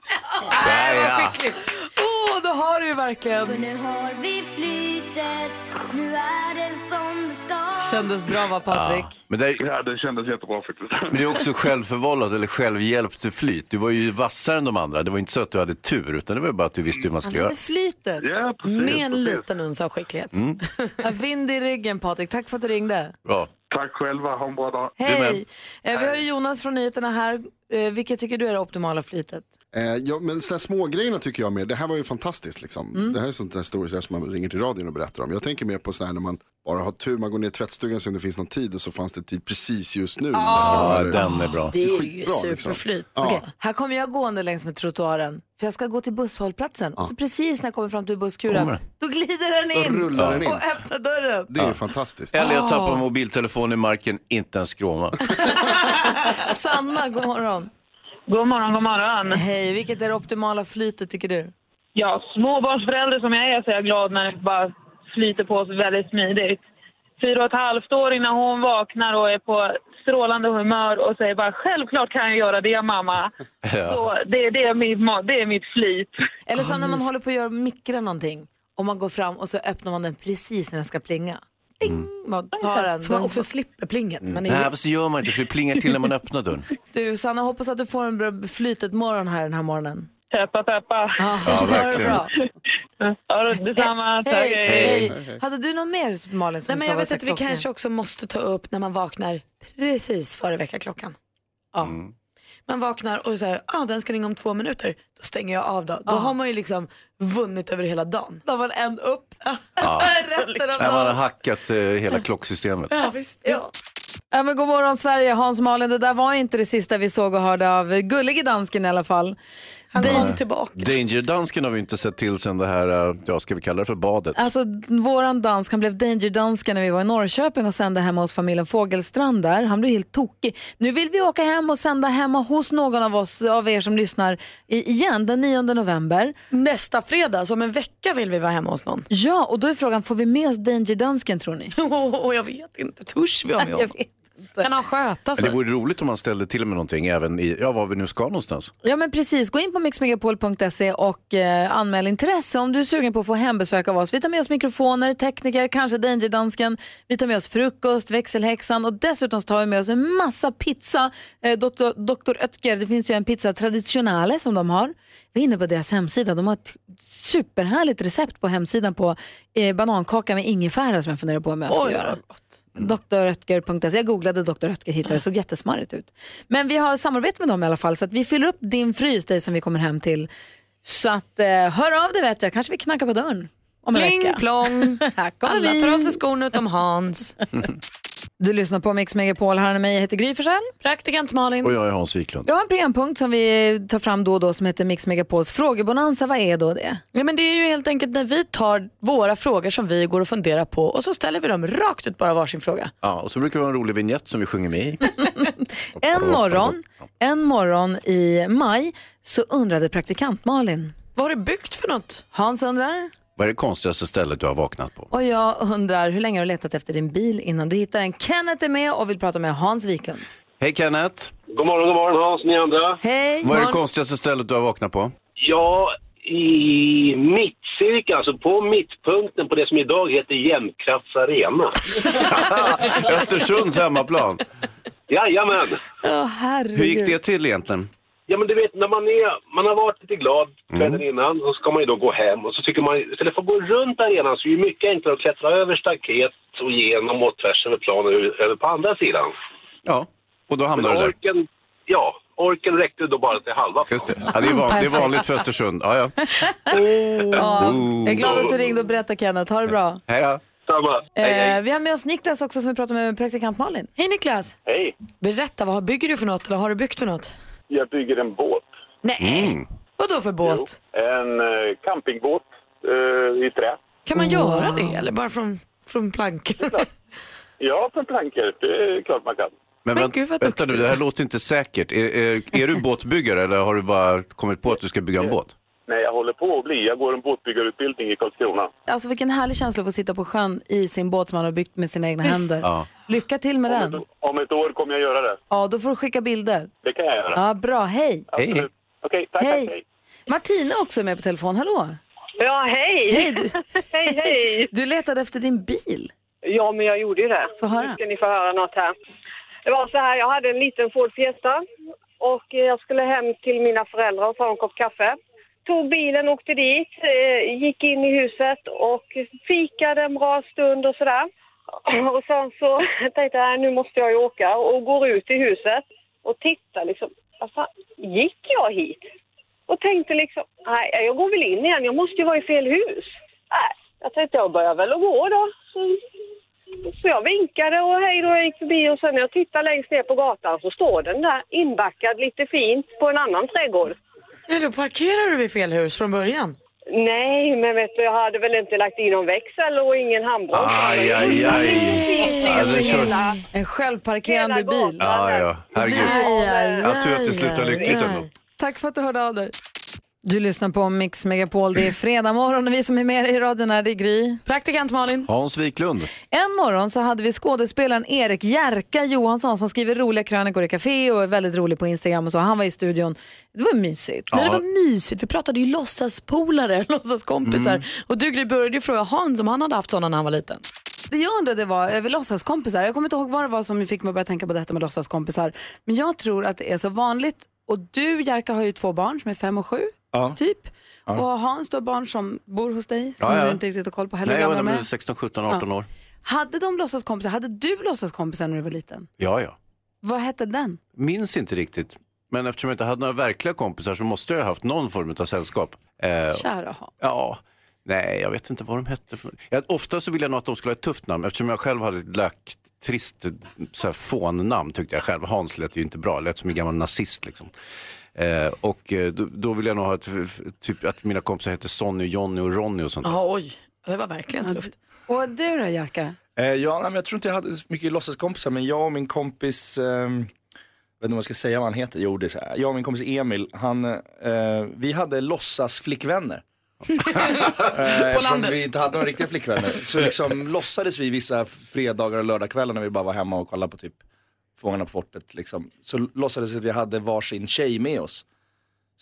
A: Skickligt. Åh, då har du ju verkligen.
K: För nu har vi flytet, nu är det som det ska
A: Kändes bra va Patrik?
C: Men det,
M: ja, det kändes jättebra faktiskt.
C: Men det är också självförvållat eller självhjälpt till flyt. Du var ju vassare än de andra. Det var inte så att du hade tur, utan det var ju bara att du visste hur man skulle göra. Mm.
A: flytet.
M: Ja,
B: Med en liten uns av skicklighet.
A: Ja, Vind i ryggen Patrik, tack för att du ringde.
C: Bra.
M: Tack själva, ha en bra dag.
A: Hej! Eh, vi har ju Jonas från nyheterna här. Eh, vilket tycker du är det optimala flytet?
I: Eh, ja, men så här smågrejerna tycker jag mer, det här var ju fantastiskt liksom.
B: Mm.
I: Det här är sånt där story som man ringer till radion och berättar om. Jag tänker mer på så här när man bara har tur, man går ner i tvättstugan sen det finns någon tid och så fanns det tid precis just nu. när man Mm, ska vara
C: Ja,
I: där.
C: den är bra.
B: Ah, Det är ju
I: Skitbra, liksom.
B: superflyt.
A: Okej, Här kommer jag gående längs med trottoaren för jag ska gå till busshållplatsen. Så precis när jag kommer fram till
C: Kommer
A: busskuren,
C: den.
A: då glider den
I: Då
A: in,
I: rullar den in.
A: och öppnar dörren.
I: Det är ju fantastiskt. Ah.
C: Eller jag tappar mobiltelefonen i marken, inte en skråma.
A: Sanna, god morgon.
J: God morgon, god morgon.
A: Hej, vilket är det optimala flytet tycker du?
J: Ja, småbarnsförälder som jag är så är jag glad när det bara flyter på så väldigt smidigt. Fyra och ett halvt år innan hon vaknar och är på strålande humör och säger bara självklart kan jag göra det mamma.
C: Ja.
J: Så det, det, är mitt, ma- det är mitt flyt.
A: Eller så när man håller på att göra mikra någonting och man går fram och så öppnar man den precis när den ska plinga. Ding! Man tar den. Mm.
B: Så man också slipper plinget. Man är...
C: Mm. Nej, fast så gör man inte, för det plingar till när man öppnar dörren.
A: Du, Sanna, hoppas att du får en bra flytet morgon här den här morgonen.
J: Peppa, peppa.
A: Ja, ha det
C: verkligen.
A: bra.
J: Ja, detsamma. Tack,
A: Hej,
J: hej.
A: hej. Hade du något mer, Malin? Som
B: Nej,
A: du
B: men
A: sa
B: jag
A: var
B: vet att vi
A: sexklockan?
B: kanske också måste ta upp när man vaknar precis före väckarklockan.
A: Ja.
B: Man vaknar och säger ah, den ska ringa om två minuter, då stänger jag av då. Då har man ju liksom vunnit över hela dagen.
A: Då var en upp. Resten av
C: Nej, man har
A: dagen.
C: hackat eh, hela klocksystemet.
B: Ja, visst. Ja.
A: Ja, men god morgon Sverige, Hans och Malin. Det där var inte det sista vi såg och hörde av gullige dansken i alla fall. Han kom tillbaka.
C: Danger-dansken har vi inte sett till sen det här, eh, ja, ska vi kalla det för badet?
A: Alltså våran dansk, han blev danger-dansken när vi var i Norrköping och sände hemma hos familjen Fågelstrand där. Han blev helt tokig. Nu vill vi åka hem och sända hemma hos någon av oss, av er som lyssnar, i- igen den 9 november.
B: Nästa fredag, så om en vecka vill vi vara hemma hos någon.
A: Ja, och då är frågan, får vi med oss danger-dansken tror ni?
B: Åh, jag vet inte, törs vi om
A: Jag vet inte.
B: Kan han sköta
C: Men
B: sig?
C: det vore roligt om man ställde till med någonting även i, ja, var vi nu ska någonstans.
A: Ja men precis, gå in på mixmegapol.se och eh, anmäl intresse om du är sugen på att få hembesök av oss. Vi tar med oss mikrofoner, tekniker, kanske Dangerdansken. Vi tar med oss frukost, växelhäxan och dessutom så tar vi med oss en massa pizza. Eh, Dr. Dr. Oetker, det finns ju en pizza traditionale som de har. Vi är inne på deras hemsida. De har ett superhärligt recept på hemsidan på eh, banankaka med ingefära som jag funderar på om jag ska
B: Oj,
A: göra.
B: Mm.
A: Dröttger.se. Jag googlade Dr. Röttger hittade det, såg jättesmarrigt ut. Men vi har samarbete med dem i alla fall så att vi fyller upp din frys, dig som vi kommer hem till. Så att eh, hör av dig vet jag, kanske vi knackar på dörren om en
B: Pling,
A: vecka.
B: plong.
A: Här kommer
B: Alla
A: vi.
B: tar av sig skorna utom Hans.
A: Du lyssnar på Mix Megapol, här är mig, jag heter Gry Forssell.
B: Praktikant Malin.
C: Och jag är Hans Wiklund.
A: Jag har en programpunkt som vi tar fram då och då som heter Mix Megapols frågebonanza. Vad är då det?
B: Ja, men det är ju helt enkelt när vi tar våra frågor som vi går och funderar på och så ställer vi dem rakt ut bara varsin fråga.
C: Ja, och så brukar vi ha en rolig vignett som vi sjunger med i.
A: En morgon, en morgon i maj så undrade praktikant Malin.
B: Vad har du byggt för något?
A: Hans undrar.
C: Vad är det konstigaste stället du har vaknat på?
A: Och jag undrar, hur länge har du letat efter din bil innan du hittar den? Kenneth är med och vill prata med Hans Wiklund.
C: Hej Kenneth!
N: God morgon, god morgon Hans, ni andra.
A: Hej!
C: Vad är det konstigaste stället du har vaknat på?
N: Ja, i mittcirkeln, alltså på mittpunkten på det som idag heter Jämtkrafts arena.
C: Östersunds hemmaplan.
N: Jajamän!
B: Ja, herregud.
C: Hur gick det till egentligen?
N: Ja men du vet när man är, man har varit lite glad
C: Mm.
N: kvällen innan och så ska man ju då gå hem och så tycker man, istället för att gå runt arenan så är det mycket enklare att klättra över staket och genom och tvärs över planen över- över på andra sidan.
C: Ja, och då hamnade du
N: Men
C: där.
N: orken, ja, orken räckte då bara till halva planen.
C: Just det. Ja, det, är van, det är vanligt för Östersund. Ja, ja.
A: Ja,
C: Oh.
A: jag är glad att du ringde och berättade Kenneth. Ha det bra.
C: Hej då.
N: Samma.
A: Eh, vi har med oss Niklas också som vi pratade med, med praktikant Malin.
B: Hej Niklas!
O: Hej.
B: Berätta, vad bygger du för något eller har du byggt för något?
O: Jag bygger en båt.
B: Nej! Vad då för båt?
O: En eh, campingbåt eh, i trä.
B: Kan man göra det eller bara från, från plankor?
O: Ja, från plankor. Det är klart man kan.
C: Men, vänt, vänta nu, det här låter inte säkert. Är, är, är du båtbyggare eller har du bara kommit på att du ska bygga en båt?
O: Nej, jag håller på att bli. Jag går en båtbyggarutbildning i Karlskrona.
A: Alltså vilken härlig känsla att få sitta på sjön i sin båt som man har byggt med sina egna händer. Lycka till med den.
O: Om ett år kommer jag göra det.
A: Ja, då får du skicka bilder.
O: Det kan jag göra.
A: Ja, bra. Hej!
O: Absolut. Okej, tack,
A: Hej.
O: tack, hej.
A: Martina också är med på telefon. Hallå!
P: Ja, hej!
A: Hej, du,
P: hej, hej!
A: du letade efter din bil.
P: Ja, men jag gjorde ju det.
A: Få höra.
P: Nu ska ni få höra något här. Det var så här, jag hade en liten Ford Fiesta och jag skulle hem till mina föräldrar och ta en kopp kaffe. Tog bilen, åkte dit, eh, gick in i huset och fikade en bra stund och sådär. Och sen så tänkte jag, "Nej, nu måste jag ju åka och går ut i huset och tittar liksom. Vad fan, gick jag hit? Och tänkte liksom, nej, jag går väl in igen, jag måste ju vara i fel hus. Nej, jag tänkte jag börjar väl att gå då. Så så jag vinkade och hej då, jag gick förbi och sen när jag tittar längst ner på gatan så står den där inbackad lite fint på en annan trädgård.
B: Nej, då parkerar du vid fel hus från början.
P: Nej, men vet du, jag hade väl inte lagt in någon växel och ingen handbroms.
C: Aj, aj, aj. Ja, det är kört.
A: En självparkerande bil.
C: Ja, ja. Herregud. Jag tror att det slutar lyckligt ändå.
A: Tack för att du hörde av dig. Du lyssnar på Mix Megapol. Det är fredag morgon och vi som är med dig i radion är det är Gry.
B: Praktikant Malin.
C: Hans Wiklund.
A: En morgon så hade vi skådespelaren Erik Jerka Johansson som skriver roliga krönikor i café och är väldigt rolig på Instagram och så. Han var i studion. Det var mysigt.
B: Men det var mysigt. Vi pratade ju låtsaspolare, låtsaskompisar.
A: Mm.
B: Och du Gry började ju fråga Hans om han hade haft sådana när han var liten.
A: Det jag undrade var över låtsaskompisar. Jag kommer inte ihåg vad det var som fick mig att börja tänka på detta med låtsaskompisar. Men jag tror att det är så vanligt. Och du Jerka har ju två barn som är fem och sju.
C: Ja.
A: Typ.
C: Ja.
A: Och Hans, du har barn som bor hos dig som
C: Ja, ja.
A: du inte riktigt har koll på heller.
C: Nej,
A: hur
C: jag
A: gamla
C: undrar
A: de är.
C: om du är 16, 17, 18 år.
A: Hade de låtsaskompisar? Hade du låtsaskompisar när du var liten?
C: Ja, ja.
A: Vad hette den?
C: Minns inte riktigt. Men eftersom jag inte hade några verkliga kompisar så måste jag ha haft någon form av sällskap. Eh,
A: Kära Hans.
C: Ja. Nej, jag vet inte vad de hette. För... Jag, ofta så ville jag nog att de skulle ha ett tufft namn eftersom jag själv hade ett lagt, trist så här, fånnamn tyckte jag själv. Hans lät ju inte bra, lät som en gammal nazist liksom. Eh, Eh, och eh, då, då vill jag nog ha ett, f- f- typ att mina kompisar heter Sonny, Jonny och Ronny och sånt där.
B: Ja, oj. Det var verkligen tufft.
A: Och du då, Jerka?
Q: Eh, ja, nej, men jag tror inte jag hade så mycket låtsaskompisar, men jag och min kompis, eh, vet inte om jag ska säga vad han heter, jo det är så här. jag och min kompis Emil, han, eh, vi hade låtsasflickvänner. Eh, Eftersom
R: landet.
Q: vi inte hade några riktiga flickvänner. Så liksom låtsades vi vissa fredagar och lördagskvällar när vi bara var hemma och kollade på typ Fångarna på fortet. Liksom. Så låtsades vi att vi hade varsin tjej med oss.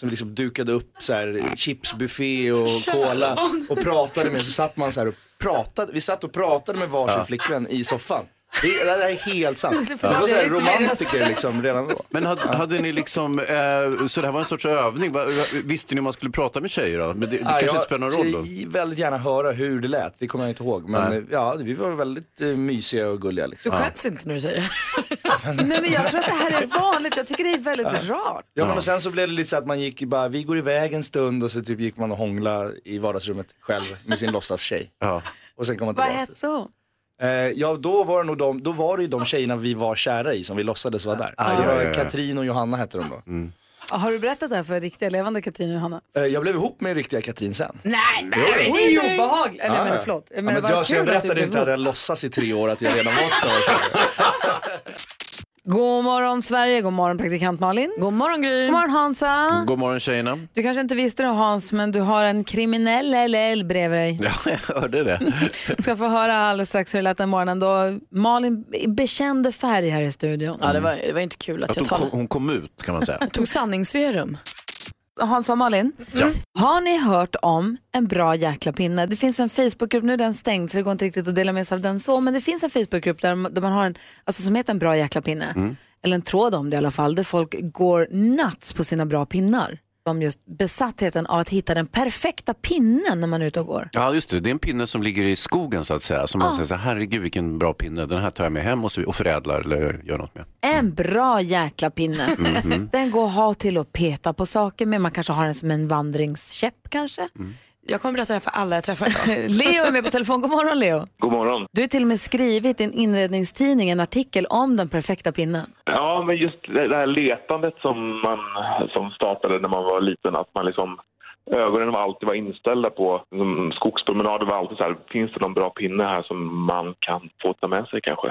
Q: Som vi liksom dukade upp så här, chipsbuffé och
R: Kära
Q: cola
R: barn.
Q: och pratade med. Så satt man så här och pratade. Vi satt och pratade med varsin
C: Ja.
Q: flickvän i soffan. Det, det där är helt sant. Vi
R: Ja.
Q: var så här
R: Det är inte
Q: romantiker
R: menas.
Q: liksom redan då.
C: Men hade, hade ni liksom, eh, så det här var en sorts övning, va, visste ni om man skulle prata med tjejer då? Men det, det
Q: Ja,
C: kanske
Q: jag
C: inte spelar någon roll då?
Q: skulle väldigt gärna höra hur det lät, det kommer jag inte ihåg. Men
C: Nej.
Q: eh, ja, vi var väldigt eh, mysiga och gulliga. Liksom.
B: Du skäms inte när du säger det.
A: Nej, men jag tror att det här är vanligt. Jag tycker det är väldigt rart.
Q: Ja, men och sen så blev det lite så att man gick bara, vi går iväg en stund och så typ gick man och hånglade i vardagsrummet själv med sin låtsastjej. Och sen kom man
A: Vad
Q: tillbaka.
A: hette hon?
Q: Eh, ja, då var, det nog de, då var det ju de tjejerna vi var kära i som vi låtsades vara där.
A: Ah,
Q: så det
A: ja,
Q: var
A: ja, ja.
Q: Katrin och Johanna hette de då.
C: Mm.
A: Ja, Har du berättat det här för riktiga levande Katrin och Johanna?
Q: Eh, jag blev ihop med riktiga Katrin sen.
A: Nej,
Q: Jo, jo.
A: det är ju obehagligt. Eller,
Q: Ja,
A: men
Q: ja.
A: förlåt.
Q: Ja,
A: Men,
Q: men
A: vad
Q: jag, så
A: kul
Q: jag
A: att du
Q: berättade
A: blev
Q: inte att jag låtsas i tre år att jag redan varit så. så.
A: God morgon Sverige, god morgon praktikant Malin.
B: God morgon Gry.
A: God morgon Hansa.
C: God morgon tjejerna.
A: Du kanske inte visste det Hans, men du har en kriminell LL bredvid dig.
C: Ja, jag hörde det.
A: Ska få höra alldeles strax hur det lät den morgonen då Malin bekände färg här i studion.
B: Ja, det var, det var inte kul att,
C: Att hon,
B: jag talade.
C: kom, hon kom ut kan man säga.
B: Jag tog sanningsserum.
A: Hans och Malin,
C: Ja.
A: har ni hört om en bra jäkla pinne? Det finns en Facebookgrupp, nu är den stängd så det går inte riktigt att dela med sig av den så, men det finns en Facebookgrupp där, där man har en, alltså som heter en bra jäkla pinne.
C: Mm.
A: Eller en tråd om det i alla fall, där folk går nuts på sina bra pinnar. Om just besattheten av att hitta den perfekta pinnen när man är ute och går.
C: Ja, just det. Det är en pinne som ligger i skogen så att säga. Som man
B: Ah.
A: Ja.
C: säger så här, herregud vilken bra pinne. Den här tar jag med hem och, så, och förädlar eller gör något med.
A: En bra jäkla pinne.
C: Mm. Mhm.
A: Den går att ha till att peta på saker med. Man kanske har den som en vandringskäpp kanske.
B: Jag kommer berätta det här för alla jag träffar idag.
A: Leo är med på telefon. God morgon Leo.
R: God morgon.
A: Du har till och med skrivit i en inredningstidning en artikel om den perfekta pinnen.
O: Ja, men just det här letandet som, man, som startade när man var liten, att man liksom ögonen var alltid var inställda på liksom, skogspromenader var alltid så här, finns det någon bra pinne här som man kan få ta med sig kanske?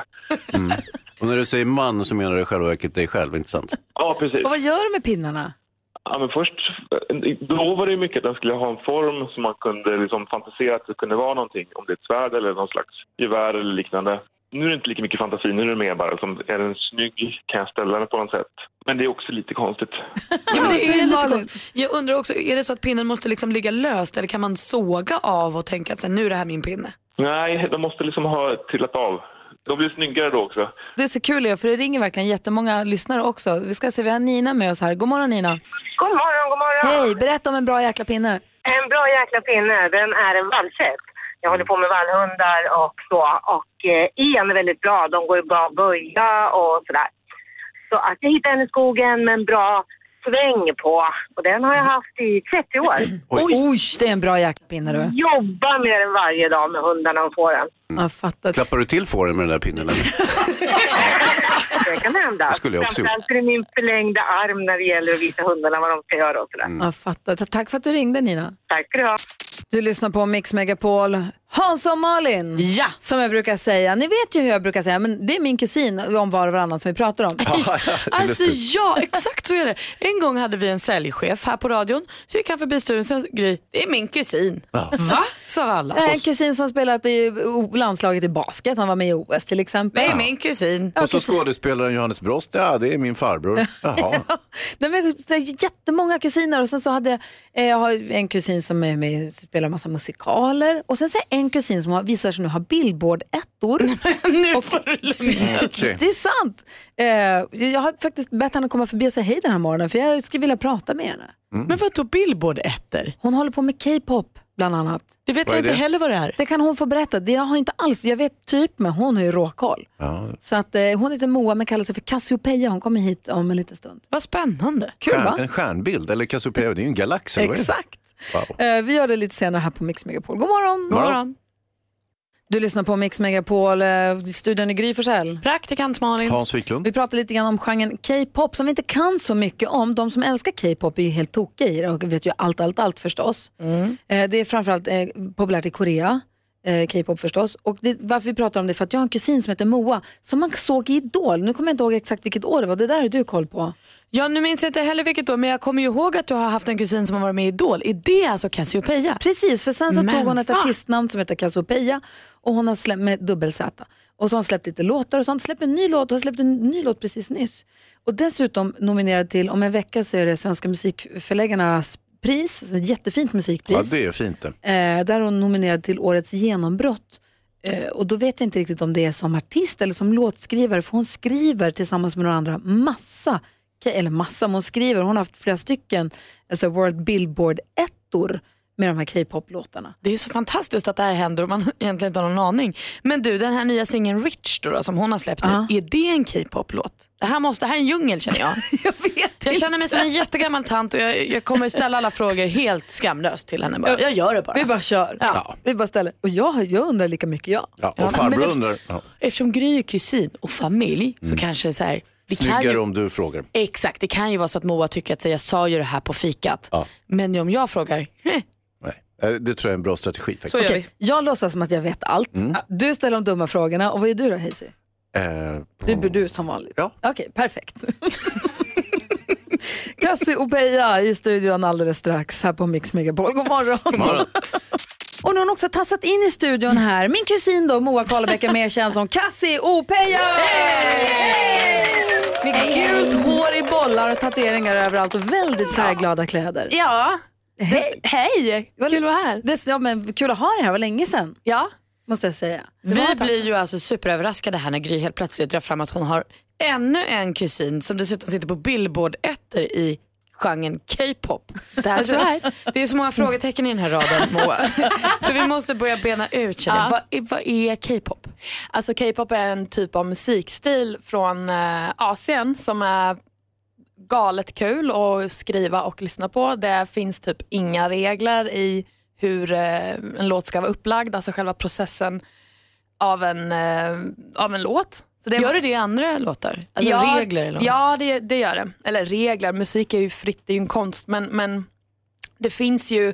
C: Och när du säger man så menar du i själva verket dig själv, inte sant?
O: Ja, precis.
A: Och vad gör du med pinnarna?
O: Ja, men först, då var det ju mycket att den skulle ha en form som man kunde liksom fantisera att det kunde vara någonting, om det är ett svärd eller någon slags gevär eller liknande. Nu är det inte lika mycket fantasi, nu är det mer bara liksom, är den snygg, kan jag ställa den på något sätt? Men det är också lite konstigt.
B: Ja, men det är lite konstigt. Jag undrar också, är det så att pinnen måste liksom ligga löst eller kan man såga av och tänka att så här, nu är det här min pinne?
O: Nej, de måste liksom ha trillat av. De blir snyggare då också.
A: Det är så kul Leo, för det ringer verkligen jättemånga lyssnare också. Vi ska se, vi har Nina med oss här. God morgon Nina.
F: God morgon, god morgon.
A: Hej, berätta om en bra jäkla pinne.
F: En bra jäkla pinne, den är en vallfläsk. Jag håller på med vallhundar och så. Och eh, en är väldigt bra, de går ju bra att böja och sådär. Så att jag hittade en i skogen med en bra sväng på. Och den har jag haft i 30 år.
A: Oj, det är en bra jäkla pinne du.
F: Jobbar med den varje dag med hundarna och fåren.
A: Jag fattar.
C: Klappar du till fåren med den där pinnen? eller?
F: Det kan hända.
C: Det skulle jag också gjort.
F: Framförallt är det min förlängda arm när det gäller att visa hundarna vad de ska göra och sådär.
C: Mm.
A: Jag fattar. Ta- Tack för att du ringde Nina.
F: Tack ska du ha.
A: Du lyssnar på Mix Megapol. Hans och Malin, ja. som jag brukar säga. Ni vet ju hur jag brukar säga, men det är min kusin om var och varannan som vi pratar om.
B: Alltså ja, exakt så är det. En gång hade vi en säljchef här på radion, så gick han förbi studion och sa Gry, det är min kusin. Va? sa alla.
A: En Eh, kusin som spelat i o- landslaget i basket, han var med i OS till exempel.
B: Det är min kusin.
A: Ja,
C: Och så
A: kusin.
C: skådespelaren Johannes Brost, ja det är min farbror. Jaha.
A: Nej, men så här, jättemånga kusiner och sen så hade jag, eh, jag har en kusin som är med, spelar massa musikaler och sen så är en kusin som har, visar sig nu ha Billboard-ettor. nu
B: Mm,
C: Okej.
A: Det är sant. Eh, jag har faktiskt bett henne komma förbi och säga hej den här morgonen för jag skulle vilja prata med henne.
B: Men vad tog Billboard ettor?
A: Hon håller på med K-pop bland annat.
B: Det vet Vad jag är inte det? heller vad det är.
A: Det kan hon få berätta. Det jag har inte alls, jag vet typ men hon har ju råkoll.
C: Ja.
A: Så att, eh, hon heter Moa men kallar sig för Cassiopeia. Hon kommer hit om en liten stund.
B: Vad spännande.
A: Kul
C: Stjärn,
A: va?
C: en stjärnbild, eller Cassiopeia, det är ju en galax. eller vad är det?
A: Exakt.
C: Wow.
A: Eh, vi gör det lite senare här på Mix Megapol. God morgon!
C: God morgon.
A: Du lyssnar på Mix Megapol, eh, studion i Gry Forssell. Praktikant Malin.
C: Hans Wiklund.
A: Vi pratar lite grann om genren K-pop som vi inte kan så mycket om. De som älskar K-pop är ju helt tokiga i det och vet ju allt, allt, allt förstås.
B: Mm.
A: Eh, Det är framförallt eh, populärt i Korea, eh, K-pop förstås. Och det, varför vi pratar om det är för att jag har en kusin som heter Moa som man såg i Idol. Nu kommer jag inte ihåg exakt vilket år det var, det där har du koll på.
B: Ja, nu minns jag inte heller vilket då, men jag kommer ju ihåg att du har haft en kusin som har varit med i Idol. Är det alltså Cassiopeia?
A: Precis, för sen så
B: Men
A: tog hon ett
B: va?
A: artistnamn som heter Cassiopeia och hon har släppt med dubbel Z. Och så har hon släppt lite låtar och sånt. Släppt en ny låt och har släppt en ny låt precis nyss. Och dessutom nominerad till, om en vecka så är det Svenska musikförläggarnas pris, så ett jättefint musikpris.
C: Ja, det är fint det.
A: Eh, där är hon nominerad till årets genombrott. Eh, och då vet jag inte riktigt om det är som artist eller som låtskrivare för hon skriver tillsammans med några andra massa, eller massa, men hon skriver, hon har haft flera stycken alltså World Billboard-ettor med de här K-pop-låtarna.
B: Det är så fantastiskt att det här händer och man egentligen inte har någon aning. Men du, den här nya singeln Rich då, då som hon har släppt nu, är det en K-pop-låt? Det här, måste, det här är en djungel känner jag. jag vet Jag känner mig som en jättegammal tant och jag, jag kommer ställa alla frågor helt skamlöst till henne. Bara. Jag gör det bara.
A: Vi bara kör.
B: Ja.
A: Vi bara ställer. Och jag, jag undrar lika mycket jag.
C: Ja, och
B: Ja, men-
C: farbror
B: men-
C: undrar. Ja.
B: Eftersom Gry är kusin och familj så
C: Mm.
B: kanske det är så här. Vi kan
C: Snyggare
B: ju,
C: om du frågar.
B: Exakt, det kan ju vara så att Moa tycker att så, jag sa ju det här på fikat. Men om jag frågar, "Eh,
C: Eh, Det tror jag är en bra strategi faktiskt.
A: Okej, Jag låtsas som att jag vet allt.
C: Mm.
A: Du ställer de dumma frågorna och vad gör du då Hazy?
C: Eh,
A: Du blir du som vanligt. Okej, perfekt. Kassi Opeya i studion alldeles strax här på Mix Megapol. God morgon. Och nu har hon också tassat in i studion här. Min kusin då, Moa Karlebäck, är mer känd som Kassi Opeya! Med gult hår i bollar och tatueringar överallt och väldigt färgglada kläder.
R: Ja.
A: Hej! Hej! Kul att vara här. Det, ja, men kul att ha dig här, var länge sedan.
R: Ja.
A: Måste jag säga.
B: Vi blir ju alltså superöverraskade här när Gry helt plötsligt drar fram att hon har ännu en kusin som dessutom sitter på billboard ettor i genren K-pop.
A: Alltså,
R: right.
B: Det är så många frågetecken i den här raden Moa. så vi måste börja bena ut känner jag.
R: Ja.
B: Vad är, vad är K-pop?
R: Alltså K-pop är en typ av musikstil från eh, Asien som är galet kul att skriva och lyssna på. Det finns typ inga regler i hur eh, en låt ska vara upplagd, alltså själva processen av en, eh, av en låt. Så
B: Gör det det i andra låtar? Alltså regler eller något?
R: Ja, det, det gör det. Eller regler, musik är ju fritt, det är ju en konst. Men, men det finns ju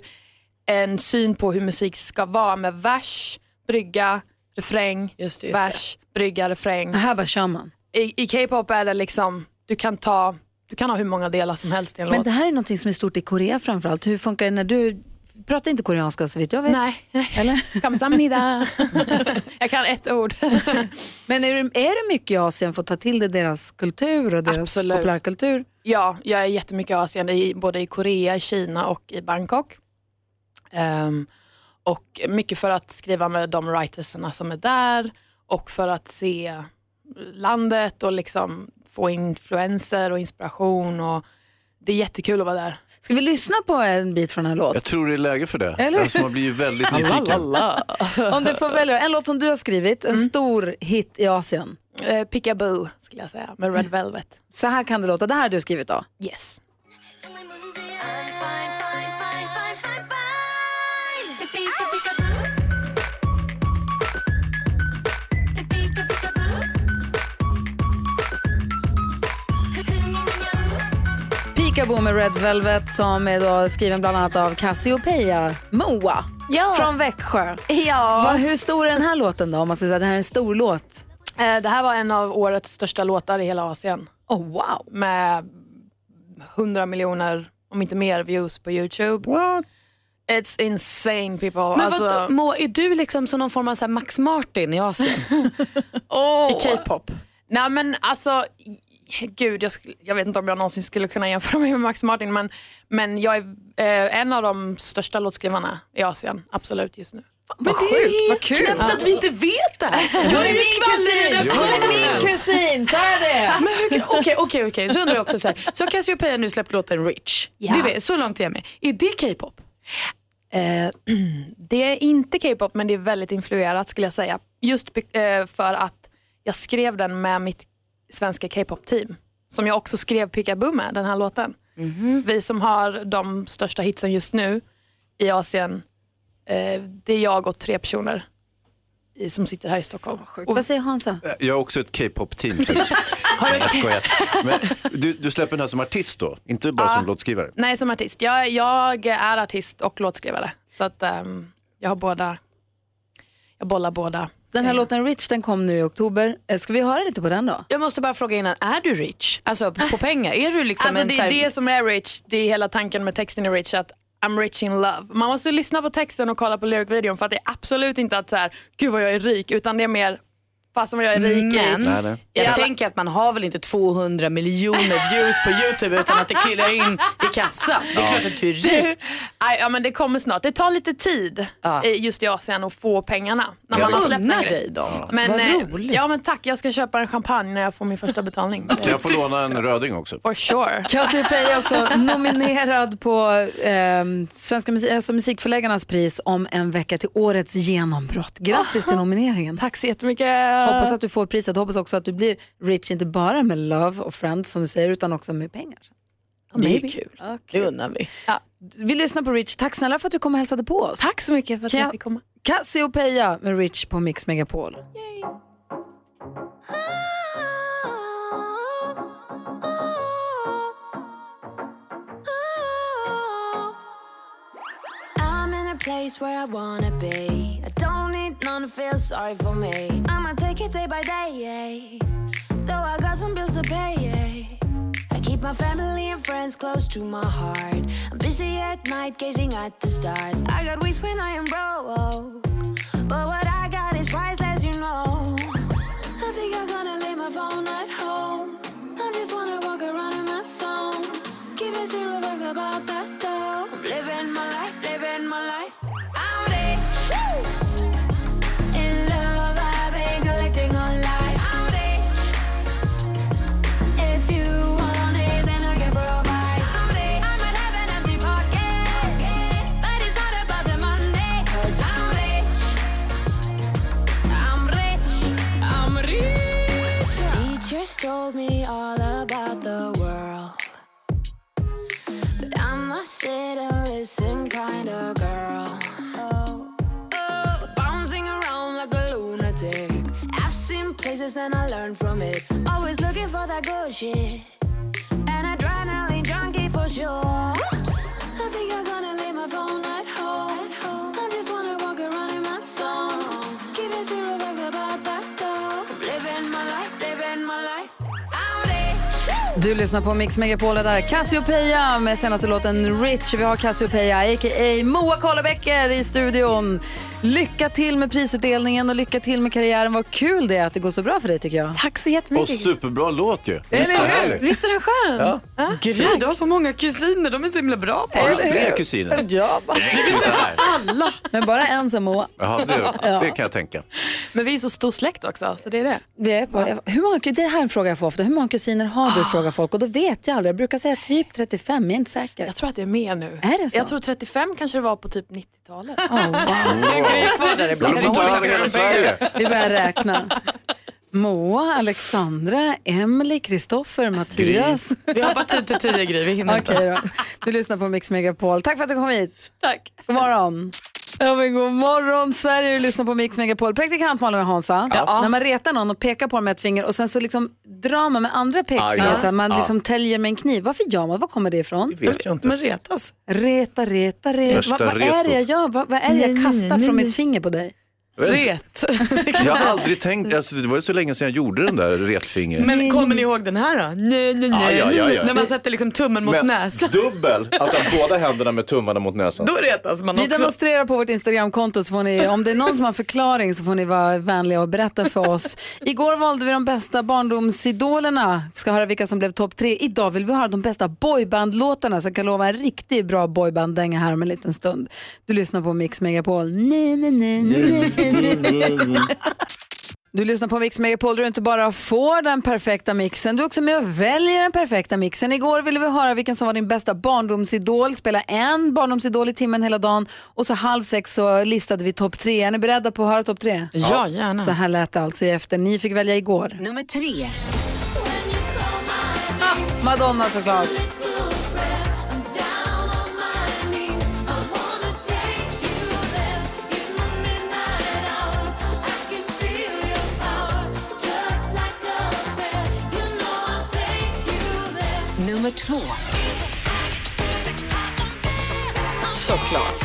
R: en syn på hur musik ska vara med vers, brygga, refräng,
B: just
A: just det.
R: vers, brygga, refräng.
A: Här bara kör man.
R: I, i K-pop är det liksom, du kan, ta, du kan ha hur många delar som helst i en
A: Men
R: låt.
A: det här är någonting som är stort i Korea framförallt. Hur funkar det när du pratar inte koreanska så vitt jag vet?
R: Nej.
A: Eller?
R: Kamsahamnida. jag kan ett ord.
A: Men är det, är det mycket i Asien för att ta till dig deras kultur och deras
R: Absolut.
A: populärkultur?
R: Ja, jag är jättemycket i Asien, i, både i Korea, i Kina och i Bangkok. Ehm, och mycket för att skriva med de writerserna som är där och för att se landet och liksom få influenser och inspiration. Och det är jättekul att vara där.
A: Ska vi lyssna på en bit från den här låten?
C: Jag tror det är läge för det.
A: Eller?
C: Alltså, man blir ju väldigt nyfiken.
A: Om du får välja en låt som du har skrivit, en stor hit i Asien.
R: Uh, Pickaboo Mm. skulle jag säga, med Red Velvet.
A: Så här kan det låta, det här har du skrivit då?
R: Yes.
A: Peekaboo med Red Velvet som är då skriven bland annat av Cassiopeia Moa
R: Ja.
A: från Växjö.
R: Ja.
A: Vad- hur stor är den här låten då? Om man ska säga att det här är en stor låt.
R: Eh, Det här var en av årets största låtar i hela Asien.
A: Oh, wow.
R: Med 100 miljoner, om inte mer, views på YouTube.
C: What?
R: It's insane people.
B: Men
R: alltså,
B: vadå, Moa, är du liksom som någon form av så här Max Martin i Asien?
R: åh.
B: I K-pop?
R: Nej men alltså, gud jag, skulle, jag vet inte om jag någonsin skulle kunna jämföra mig med Max Martin men, men jag är eh, en av de största låtskrivarna i Asien, absolut just nu.
A: Vad sjukt, vad kul.
B: Knappt att vi inte vet det här.
A: Hon är min kusin! Hon är min kusin, så är det!
B: Men hur- Okej, okej, okej. Så undrar jag också så här. Så Cassiopeia nu släppt låten Rich.
R: Ja.
B: Det vet, så långt är jag med. Är det K-pop?
R: Eh, det är inte K-pop men det är väldigt influerat skulle jag säga. Just be- eh, för att jag skrev den med mitt svenska K-pop-team som jag också skrev Pickaboo med, den här låten. Vi som har de största hitsen just nu i Asien, eh, det är jag och tre personer i, som sitter här i Stockholm.
A: Och, Vad säger Hansa?
C: Jag har också ett K-pop-team. faktiskt. Nej, jag skojar. Men du, du släpper den här som artist då? Inte bara
R: Ja.
C: som låtskrivare?
R: Nej, som artist. Jag, jag är artist och låtskrivare. Så att, ehm, jag har båda, jag bollar båda. Eh,
A: Den här låten Rich den kom nu i oktober. Eh, Ska vi höra lite på den då?
B: Jag måste bara fråga innan, är du rich? Alltså på pengar? Är du liksom
R: Alltså
B: en
R: det
B: så
R: är
B: här-
R: det som är rich, det är hela tanken med texten i rich, att I'm rich in love. Man måste lyssna på texten och kolla på lyricvideon för att det är absolut inte att så här, gud vad jag är rik, utan det är mer, fast som jag är rik
B: Men
R: i.
B: jag
R: Jävla-
B: tänker att man har väl inte 200 miljoner views på YouTube utan att det klirrar in i kassan. Det är
R: Ja.
B: klart att du är rik.
R: Aj, ja men det kommer snart. Det tar lite tid
B: Ja.
R: eh, just i Asien att få pengarna. När
B: Jag
R: man har
B: unnar
R: släppt en grej.
B: dig dem. Alltså,
R: Men,
B: vad
R: eh, ja men tack, jag ska köpa en champagne när jag får min första betalning.
C: Kan jag få låna en röding också?
R: For sure.
A: Cassiopeia är också nominerad på eh, Svenska musik, alltså musikförläggarnas pris om en vecka till årets genombrott. Grattis till nomineringen.
R: Tack så jättemycket.
A: Hoppas att du får priset. Hoppas också att du blir rich, inte bara med love och friends som du säger, utan också med pengar.
B: Det är
A: Maybe.
B: kul. Det unnar vi.
A: Vi lyssnar på Rich. Tack snälla för att du kom och hälsade på oss.
R: Tack så mycket för att jag fick komma.
A: Cassiopeia med Rich på Mix Megapol.
K: Oh, oh. I'm in a place where I wanna be. I don't need none to feel sorry for me. I'ma take it day by day. Though I got some bills to pay. I keep my family and friends close to my heart. I'm busy at night gazing at the stars. I got weeks when I am broke. But what I got is priceless, you know. I think I'm gonna leave my phone at home. I just wanna walk around in my song. Give it zero bucks about that though. I'm living my life, living my life. I'm rich. In love, I've been collecting online. I'm rich. If you want it, then I can provide. I'm rich. I might have an empty pocket, but it's not about the money. Cause I'm rich. I'm rich. I'm rich. Teachers told me all about the world. But I'm the sit and listen kind of girl. Oh, oh, bouncing around like a lunatic. I've seen places and I learned from it. Always looking for that good shit. An adrenaline junkie for sure. I think I'm gonna leave my phone at home. I just wanna walk around in my song. Keep it zero bucks about that though. Living my life, living my life. I'm rich.
A: Du lyssnar på Mix Megapol det där. är Cassiopeia med senaste låten Rich. Vi har Cassiopeia, a.k.a. Moa Karlebäcker i studion. Lycka till med prisutdelningen och lycka till med karriären. Vad kul det är att det går så bra för dig tycker jag.
R: Tack så
C: Och superbra låt ju.
A: Eller hur?
R: Visst är den skön?
C: Ja.
B: Gry, du har så många kusiner. De är så himla bra på
C: Har du
B: det.
C: fler kusiner?
A: Ja,
B: bara-
A: Alla. Men bara en som Moa.
C: Jaha, det,
A: Ja.
C: det kan jag tänka.
R: Men vi är ju så stor släkt också, så det är det.
A: Det, är bara, hur många, det här är en fråga jag får ofta. Hur många kusiner har
R: Ah.
A: du? Frågar folk. Och då vet jag aldrig. Jag brukar säga typ 35, jag är inte säker.
R: Jag tror att det är mer nu.
A: Är det så?
R: Jag tror 35 kanske det var på typ 90-talet.
A: Oh, Vi börjar räkna. Moa, Alexandra, Emily, Kristoffer, Mattias.
B: Vi har bara tid till tio, Gry. Vi hinner
A: Okej då. Du lyssnar på Mix Megapol. Tack för att du kom hit.
R: Tack.
A: God morgon. Ja, men god morgon Sverige, du lyssnar på Mix Megapol. Praktikant Malin och Hansa, när man retar någon och pekar på dem med ett finger och sen så liksom drar man med andra
B: Ja,
A: pekfingret,
B: ja.
A: så att man
B: Ja.
A: liksom täljer med en kniv. Varför gör man? Var kommer det ifrån?
B: Det vet jag inte. Man retas.
A: Reta, reta, reta.
B: Värsta
A: Vad vad är det jag
C: retot.
A: gör? Vad vad är det jag
B: Nej,
A: kastar
B: nej,
A: från
B: nej.
A: mitt finger på dig?
C: Jag vet inte. Jag har
B: vara.
C: aldrig tänkt, alltså, det var ju så länge sedan jag gjorde den där retfingret.
B: Men kommer ni ihåg den här då? Nej, nej, nej.
C: ja, ja, ja.
B: När man sätter liksom tummen mot
S: Men
B: näsan.
S: Dubbel, att ha båda händerna med tummarna mot näsan.
B: Då retas man
A: Vi
B: också.
A: demonstrerar på vårt Instagramkonto, så får ni, om det är någon som har en förklaring så får ni vara vänliga och berätta för oss. Igår valde vi de bästa barndomsidolerna, vi ska höra vilka som blev topp tre. Idag vill vi höra de bästa boybandlåtarna, så jag kan lova en riktigt bra boybanddänga här om en liten stund. Du lyssnar på Mix Megapol. Nej, nej, nej, nej, nej, nej. Du lyssnar på Mix Megapol där du inte bara får den perfekta mixen, du är också med och väljer den perfekta mixen. Igår ville vi höra vilken som var din bästa barndomsidol, spela en barndomsidol i timmen hela dagen och så halv sex så listade vi topp tre. Är ni beredda på att höra topp tre?
B: Ja, gärna.
A: Så här lät det alltså i efter. Ni fick välja igår.
B: Nummer tre.
A: Madonna såklart.
T: Nummer två.
B: Såklart.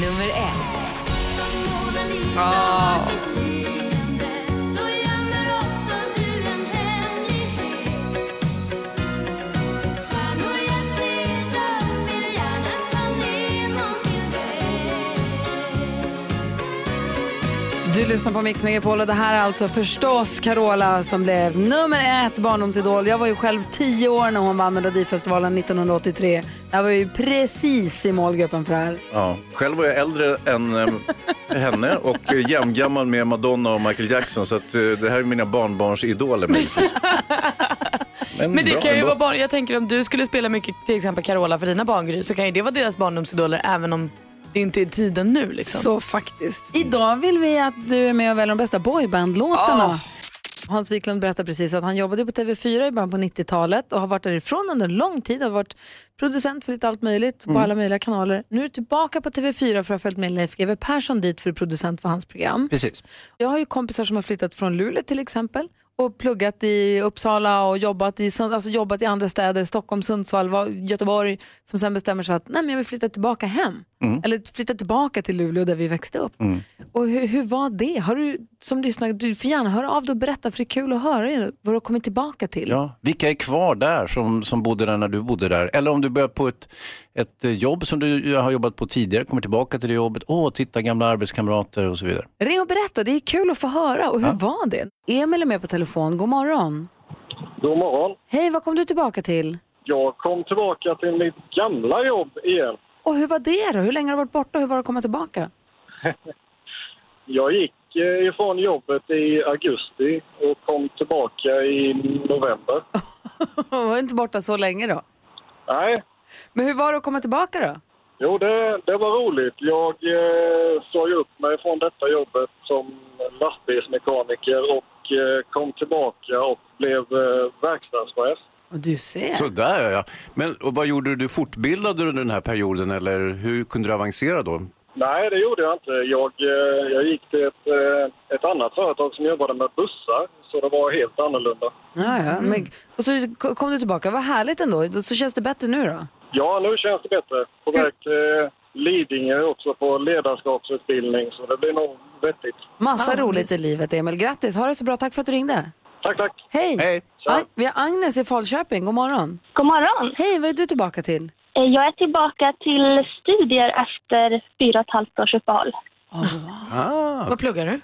T: Nummer ett.
B: Ja.
A: Du lyssnar på Mix Megapol och det här är alltså förstås Carola som blev nummer ett barndomsidol. Jag var ju själv tio år när hon vann Melodifestivalen 1983. Jag var ju precis i målgruppen för det här.
S: Ja. Själv var jag äldre än eh,
C: ehm,
S: henne och eh, jämngammal med Madonna och Michael Jackson. Så att, eh, det här är mina barnbarns idoler möjligtvis.
B: Men det
S: bra
B: kan ju
S: ändå.
B: vara barn, jag tänker om du skulle spela mycket till exempel Carola för dina barn Gry, så kan ju det vara deras barndomsidoler även om det inte är tiden nu liksom.
A: Så faktiskt. Idag vill vi att du är med och väljer de bästa boybandlåtarna. Hans Wiklund berättade precis att han jobbade på TV4 i början på 90-talet och har varit därifrån under lång tid. Har varit producent för lite allt möjligt på
B: Mm.
A: alla möjliga kanaler. Nu är du tillbaka på TV4 för att ha följt med Leif GW Persson dit för att producent för hans program.
C: Precis.
A: Jag har ju kompisar som har flyttat från Luleå till exempel och pluggat i Uppsala och jobbat i, Sund- alltså jobbat i andra städer, Stockholm, Sundsvall, Va- Göteborg, som sen bestämmer sig att nej, men jag vill flytta tillbaka hem.
B: Mm.
A: Eller flytta tillbaka till Luleå där vi växte upp.
C: Mm.
A: Och hur, hur var det? Har du som lyssnar, du får gärna höra av dig och berätta för det är kul att höra er, vad du har kommit tillbaka till.
C: Ja, vilka är kvar där som, som bodde där när du bodde där? Eller om du börjar på ett, ett eh, jobb som du har jobbat på tidigare, kommer tillbaka till det jobbet, åh, titta gamla arbetskamrater och så vidare.
A: Ring och berätta, det är kul att få höra. Och hur var det? Emil är med på telefon, god morgon.
U: God morgon.
A: Hej, vad kom du tillbaka till?
U: Jag kom tillbaka till mitt gamla jobb igen.
A: Och hur var det då? Hur länge har du varit borta och hur var det att komma tillbaka?
U: Jag gick eh, ifrån jobbet i augusti och kom tillbaka i november.
A: Du var inte borta så länge då.
U: Nej,
A: Men hur var det att komma tillbaka då?
U: jo det, det var roligt. Jag eh, sa ju upp mig från detta jobbet som lastbilsmekaniker och eh, kom tillbaka och blev eh, verkstadschef.
A: Och du ser.
C: Sådär ja. Men och vad gjorde du? Du fortbildade du under den här perioden eller hur kunde du avancera då?
U: Nej, det gjorde jag inte. Jag, eh, jag gick till ett, eh, ett annat företag som jobbade med bussar, så det var helt annorlunda.
A: Ja, ja. Men, Mm. och så ko- kom du tillbaka, vad härligt ändå. Då- Så känns det bättre nu då?
U: Ja, nu känns det bättre. På väg till eh, Lidingö också på ledarskapsutbildning, så det blir nog vettigt.
A: Massa roligt i livet Emil, grattis. Ha det så bra, tack för att du ringde.
U: Tack, tack.
A: Hej!
U: Hej.
A: Ag- vi har Agnes i Falköping, god morgon.
V: God morgon.
A: Hej, vad är du tillbaka till?
V: Eh, Jag är tillbaka till studier efter fyra och ett halvt års uppehåll.
I: Ah.
B: Vad pluggar du?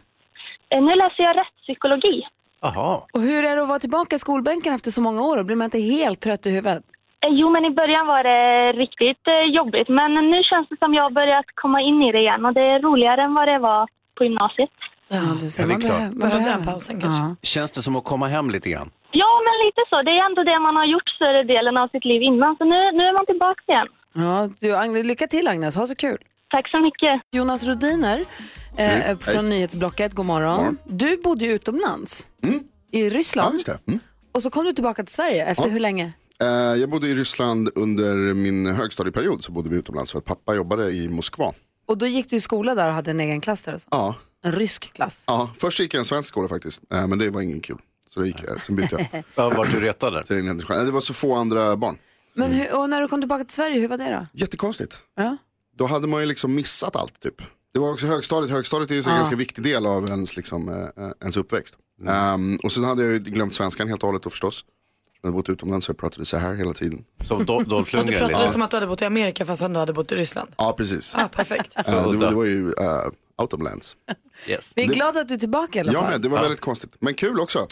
V: Eh, Nu läser jag rättspsykologi.
C: Aha.
A: Och hur är det att vara tillbaka i skolbänken efter så många år? Blir man inte helt trött i huvudet?
V: Eh, Jo, men i början var det riktigt eh, jobbigt. Men nu känns det som jag har börjat komma in i det igen och det är roligare än vad det var på gymnasiet.
A: Ja, du
C: Ja, det är klart.
V: Behövde den
A: pausen kanske?
C: Känns det som att komma hem lite grann?
V: Ja, men lite så. Det är ändå det man har gjort större delen av sitt liv innan. Så nu, nu är man tillbaka igen.
A: Ja, du, Agnes, lycka till Agnes, ha så kul.
V: Tack så mycket.
A: Jonas Rodiner eh,
V: Mm,
A: från Nyhetsblocket, god morgon. Du bodde ju utomlands, i Ryssland.
I: Mm. Ja, just det. Mm.
A: Och så kom du tillbaka till Sverige, efter
I: Ja.
A: hur länge?
I: Eh, Jag bodde i Ryssland under min högstadieperiod så bodde vi utomlands för att pappa jobbade i Moskva.
A: Och då gick du i skola där och hade en egen klass där och så.
I: Ja,
A: En rysk klass.
I: ja först gick jag i en svensk skola faktiskt, eh, men det var ingen kul. Så det gick, jag- sen bytte jag.
C: Ja, vart du retad
I: Till Engelska. Nej, Det var så få andra barn.
A: Men
I: Mm.
A: hur, och när du kom tillbaka till Sverige, hur var det då?
I: Jättekonstigt.
A: Ja.
I: Då hade man ju liksom missat allt typ. Det var också högstadiet, högstadiet är ju så en
A: Ja.
I: ganska viktig del av ens, liksom, eh, eh, ens uppväxt.
C: Mm.
I: Ehm, och sen hade jag ju glömt svenskan helt och hållet då förstås. Jag hade bott utomlands så jag pratade så här hela tiden.
C: Som Dolph liksom.
B: Ja, du pratade som att du hade bott i Amerika fast du hade bott i Ryssland.
I: Ja, precis.
B: Ja, perfekt.
I: Eh, det, var- det var ju uh, Outomlands.
A: Vi är
I: Det-
A: glada att du är tillbaka i alla
I: Ja,
A: fall.
I: men det var väldigt konstigt. Men kul också.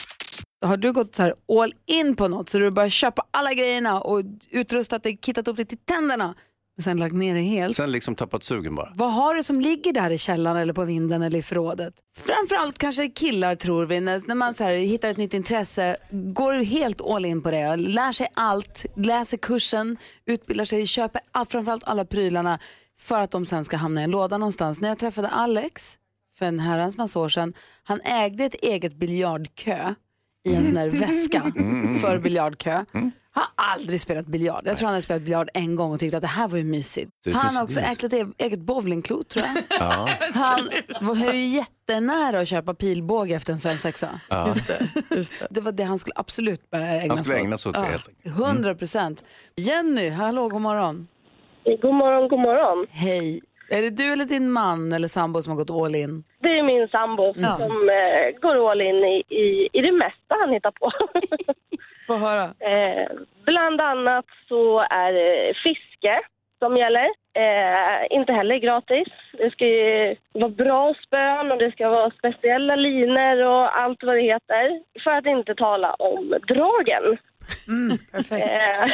A: Har du gått så här all in på något så du bara köpa alla grejerna och utrustat dig, kittat upp det till tänderna och sen lagt ner det helt?
C: Sen liksom tappat sugen bara.
A: Vad har du som ligger där i källaren eller på vinden eller i förrådet? Framförallt kanske killar tror vi, när, när man så här, hittar ett nytt intresse, går helt all in på det, lär sig allt, läser kursen, utbildar sig, köper all, framförallt alla prylarna för att de sen ska hamna i en låda någonstans. När jag träffade Alex för en herrans massa år sedan, han ägde ett eget biljardkö i en sån här väska
W: Mm, mm, mm.
A: för biljardkö. Han har aldrig spelat biljard. Jag tror han har spelat biljard en gång och tyckte att det här var ju mysigt.
J: Det
A: han
J: finns-
A: har också
J: det är
A: äklat e- eget bowlingklot tror jag.
J: Ja.
A: Han var var ju jättenära att köpa pilbåge efter en svensexa.
C: Ja. Just
A: det, det var det han skulle absolut börja ägna sig
C: Han skulle ägna sig åt det, helt Mm.
A: Ja, 100 procent. Jenny, hallå, god morgon.
G: God morgon, god morgon.
A: Hej. Är det du eller din man eller sambo som har gått all in?
G: Det är min sambo
A: Ja.
G: som eh, går all in i, i, i det mesta han hittar på.
A: Få höra.
G: Eh, bland annat så är det fiske som gäller. Eh, inte heller gratis. Det ska ju vara bra spön och det ska vara speciella liner och allt vad det heter. För att inte tala om dragen.
A: Mm,
B: Perfekt.
G: Eh,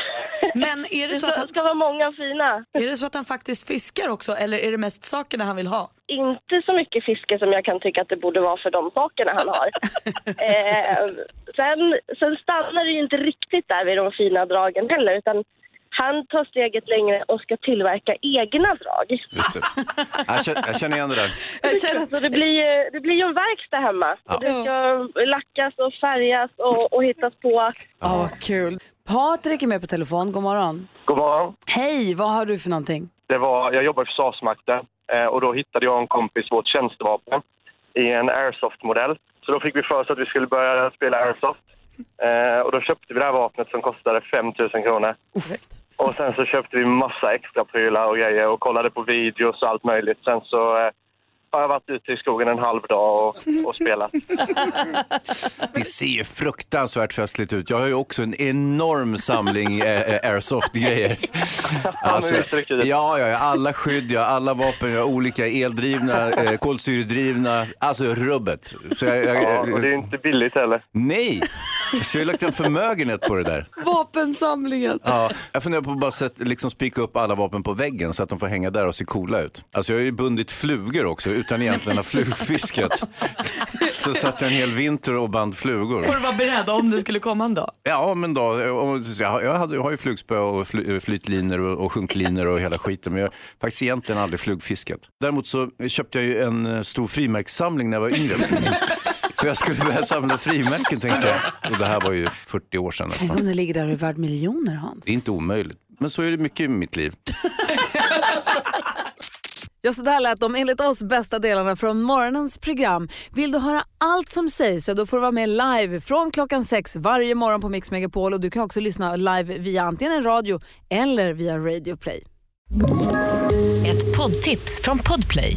B: Men är det så att han...
G: ska vara många fina.
B: Är det så att han faktiskt fiskar också eller är det mest sakerna han vill ha?
G: inte så mycket fiske som jag kan tycka att det borde vara för de sakerna han har. eh, sen, sen stannar det ju inte riktigt där vid de fina dragen heller utan han tar steget längre och ska tillverka egna drag.
C: Just det. Jag, känner, jag känner igen det där.
G: Så det blir, ju- det blir ju en verkstad hemma.
C: Ja.
G: Det ska lackas och färgas och, och hittas på.
A: Ja, Ah, vad kul. Patrik är med på telefon, god morgon.
W: God morgon.
A: Hej, vad har du för någonting?
W: Det var, jag jobbar i Försvarsmakten eh, och då hittade jag och en kompis vårt tjänstevapen i en airsoft-modell. Så då fick vi för oss att vi skulle börja spela airsoft. Eh, och då köpte vi det här vapnet som kostade 5 000 kronor. Och sen så köpte vi massa extra prylar och grejer och kollade på videos och allt möjligt. Sen så eh, har jag varit ute i skogen en halv dag och, och spelat.
C: Det ser ju fruktansvärt festligt ut. Jag har ju också en enorm samling eh, eh, airsoft-grejer.
W: men visst
C: ja, ja, ja, alla skydd, ja, alla vapen, ja, olika eldrivna, eh, kolsyredrivna, alltså rubbet. Så jag, jag,
W: Ja, och det är ju inte billigt heller.
C: Nej, så jag har lagt en förmögenhet på det där.
A: Vapensamlingen.
C: Ja, jag funderar på att bara sätt, liksom spika upp alla vapen på väggen så att de får hänga där och se coola ut. Alltså jag har ju bundit flugor också utan egentligen ha flugfiskat. Så satt jag en hel vinter och band flugor.
B: Får du vara beredd om det skulle komma en dag.
C: Ja, men då, och- jag jag hade, jag har ju flugspö och fly, flytlinor och, och sjunklinor och hela skiten, men jag har faktiskt egentligen aldrig flugfiskat. Däremot så köpte jag ju en eh, stor frimärkssamling när jag var yngre. För jag skulle börja samla frimärken tänkte jag. Och det här var ju 40 år sedan
A: Tänk om
C: nästan.
A: det ligger där och är värd miljoner, Hans.
C: Det är inte omöjligt, men så är det mycket i mitt liv.
A: Ja, så där lät de enligt oss bästa delarna från morgonens program. Vill du höra allt som sägs så då får du vara med live från klockan sex varje morgon på Mix Megapol och du kan också lyssna live via antingen radio eller via Radio Play.
X: Ett poddtips från Podplay.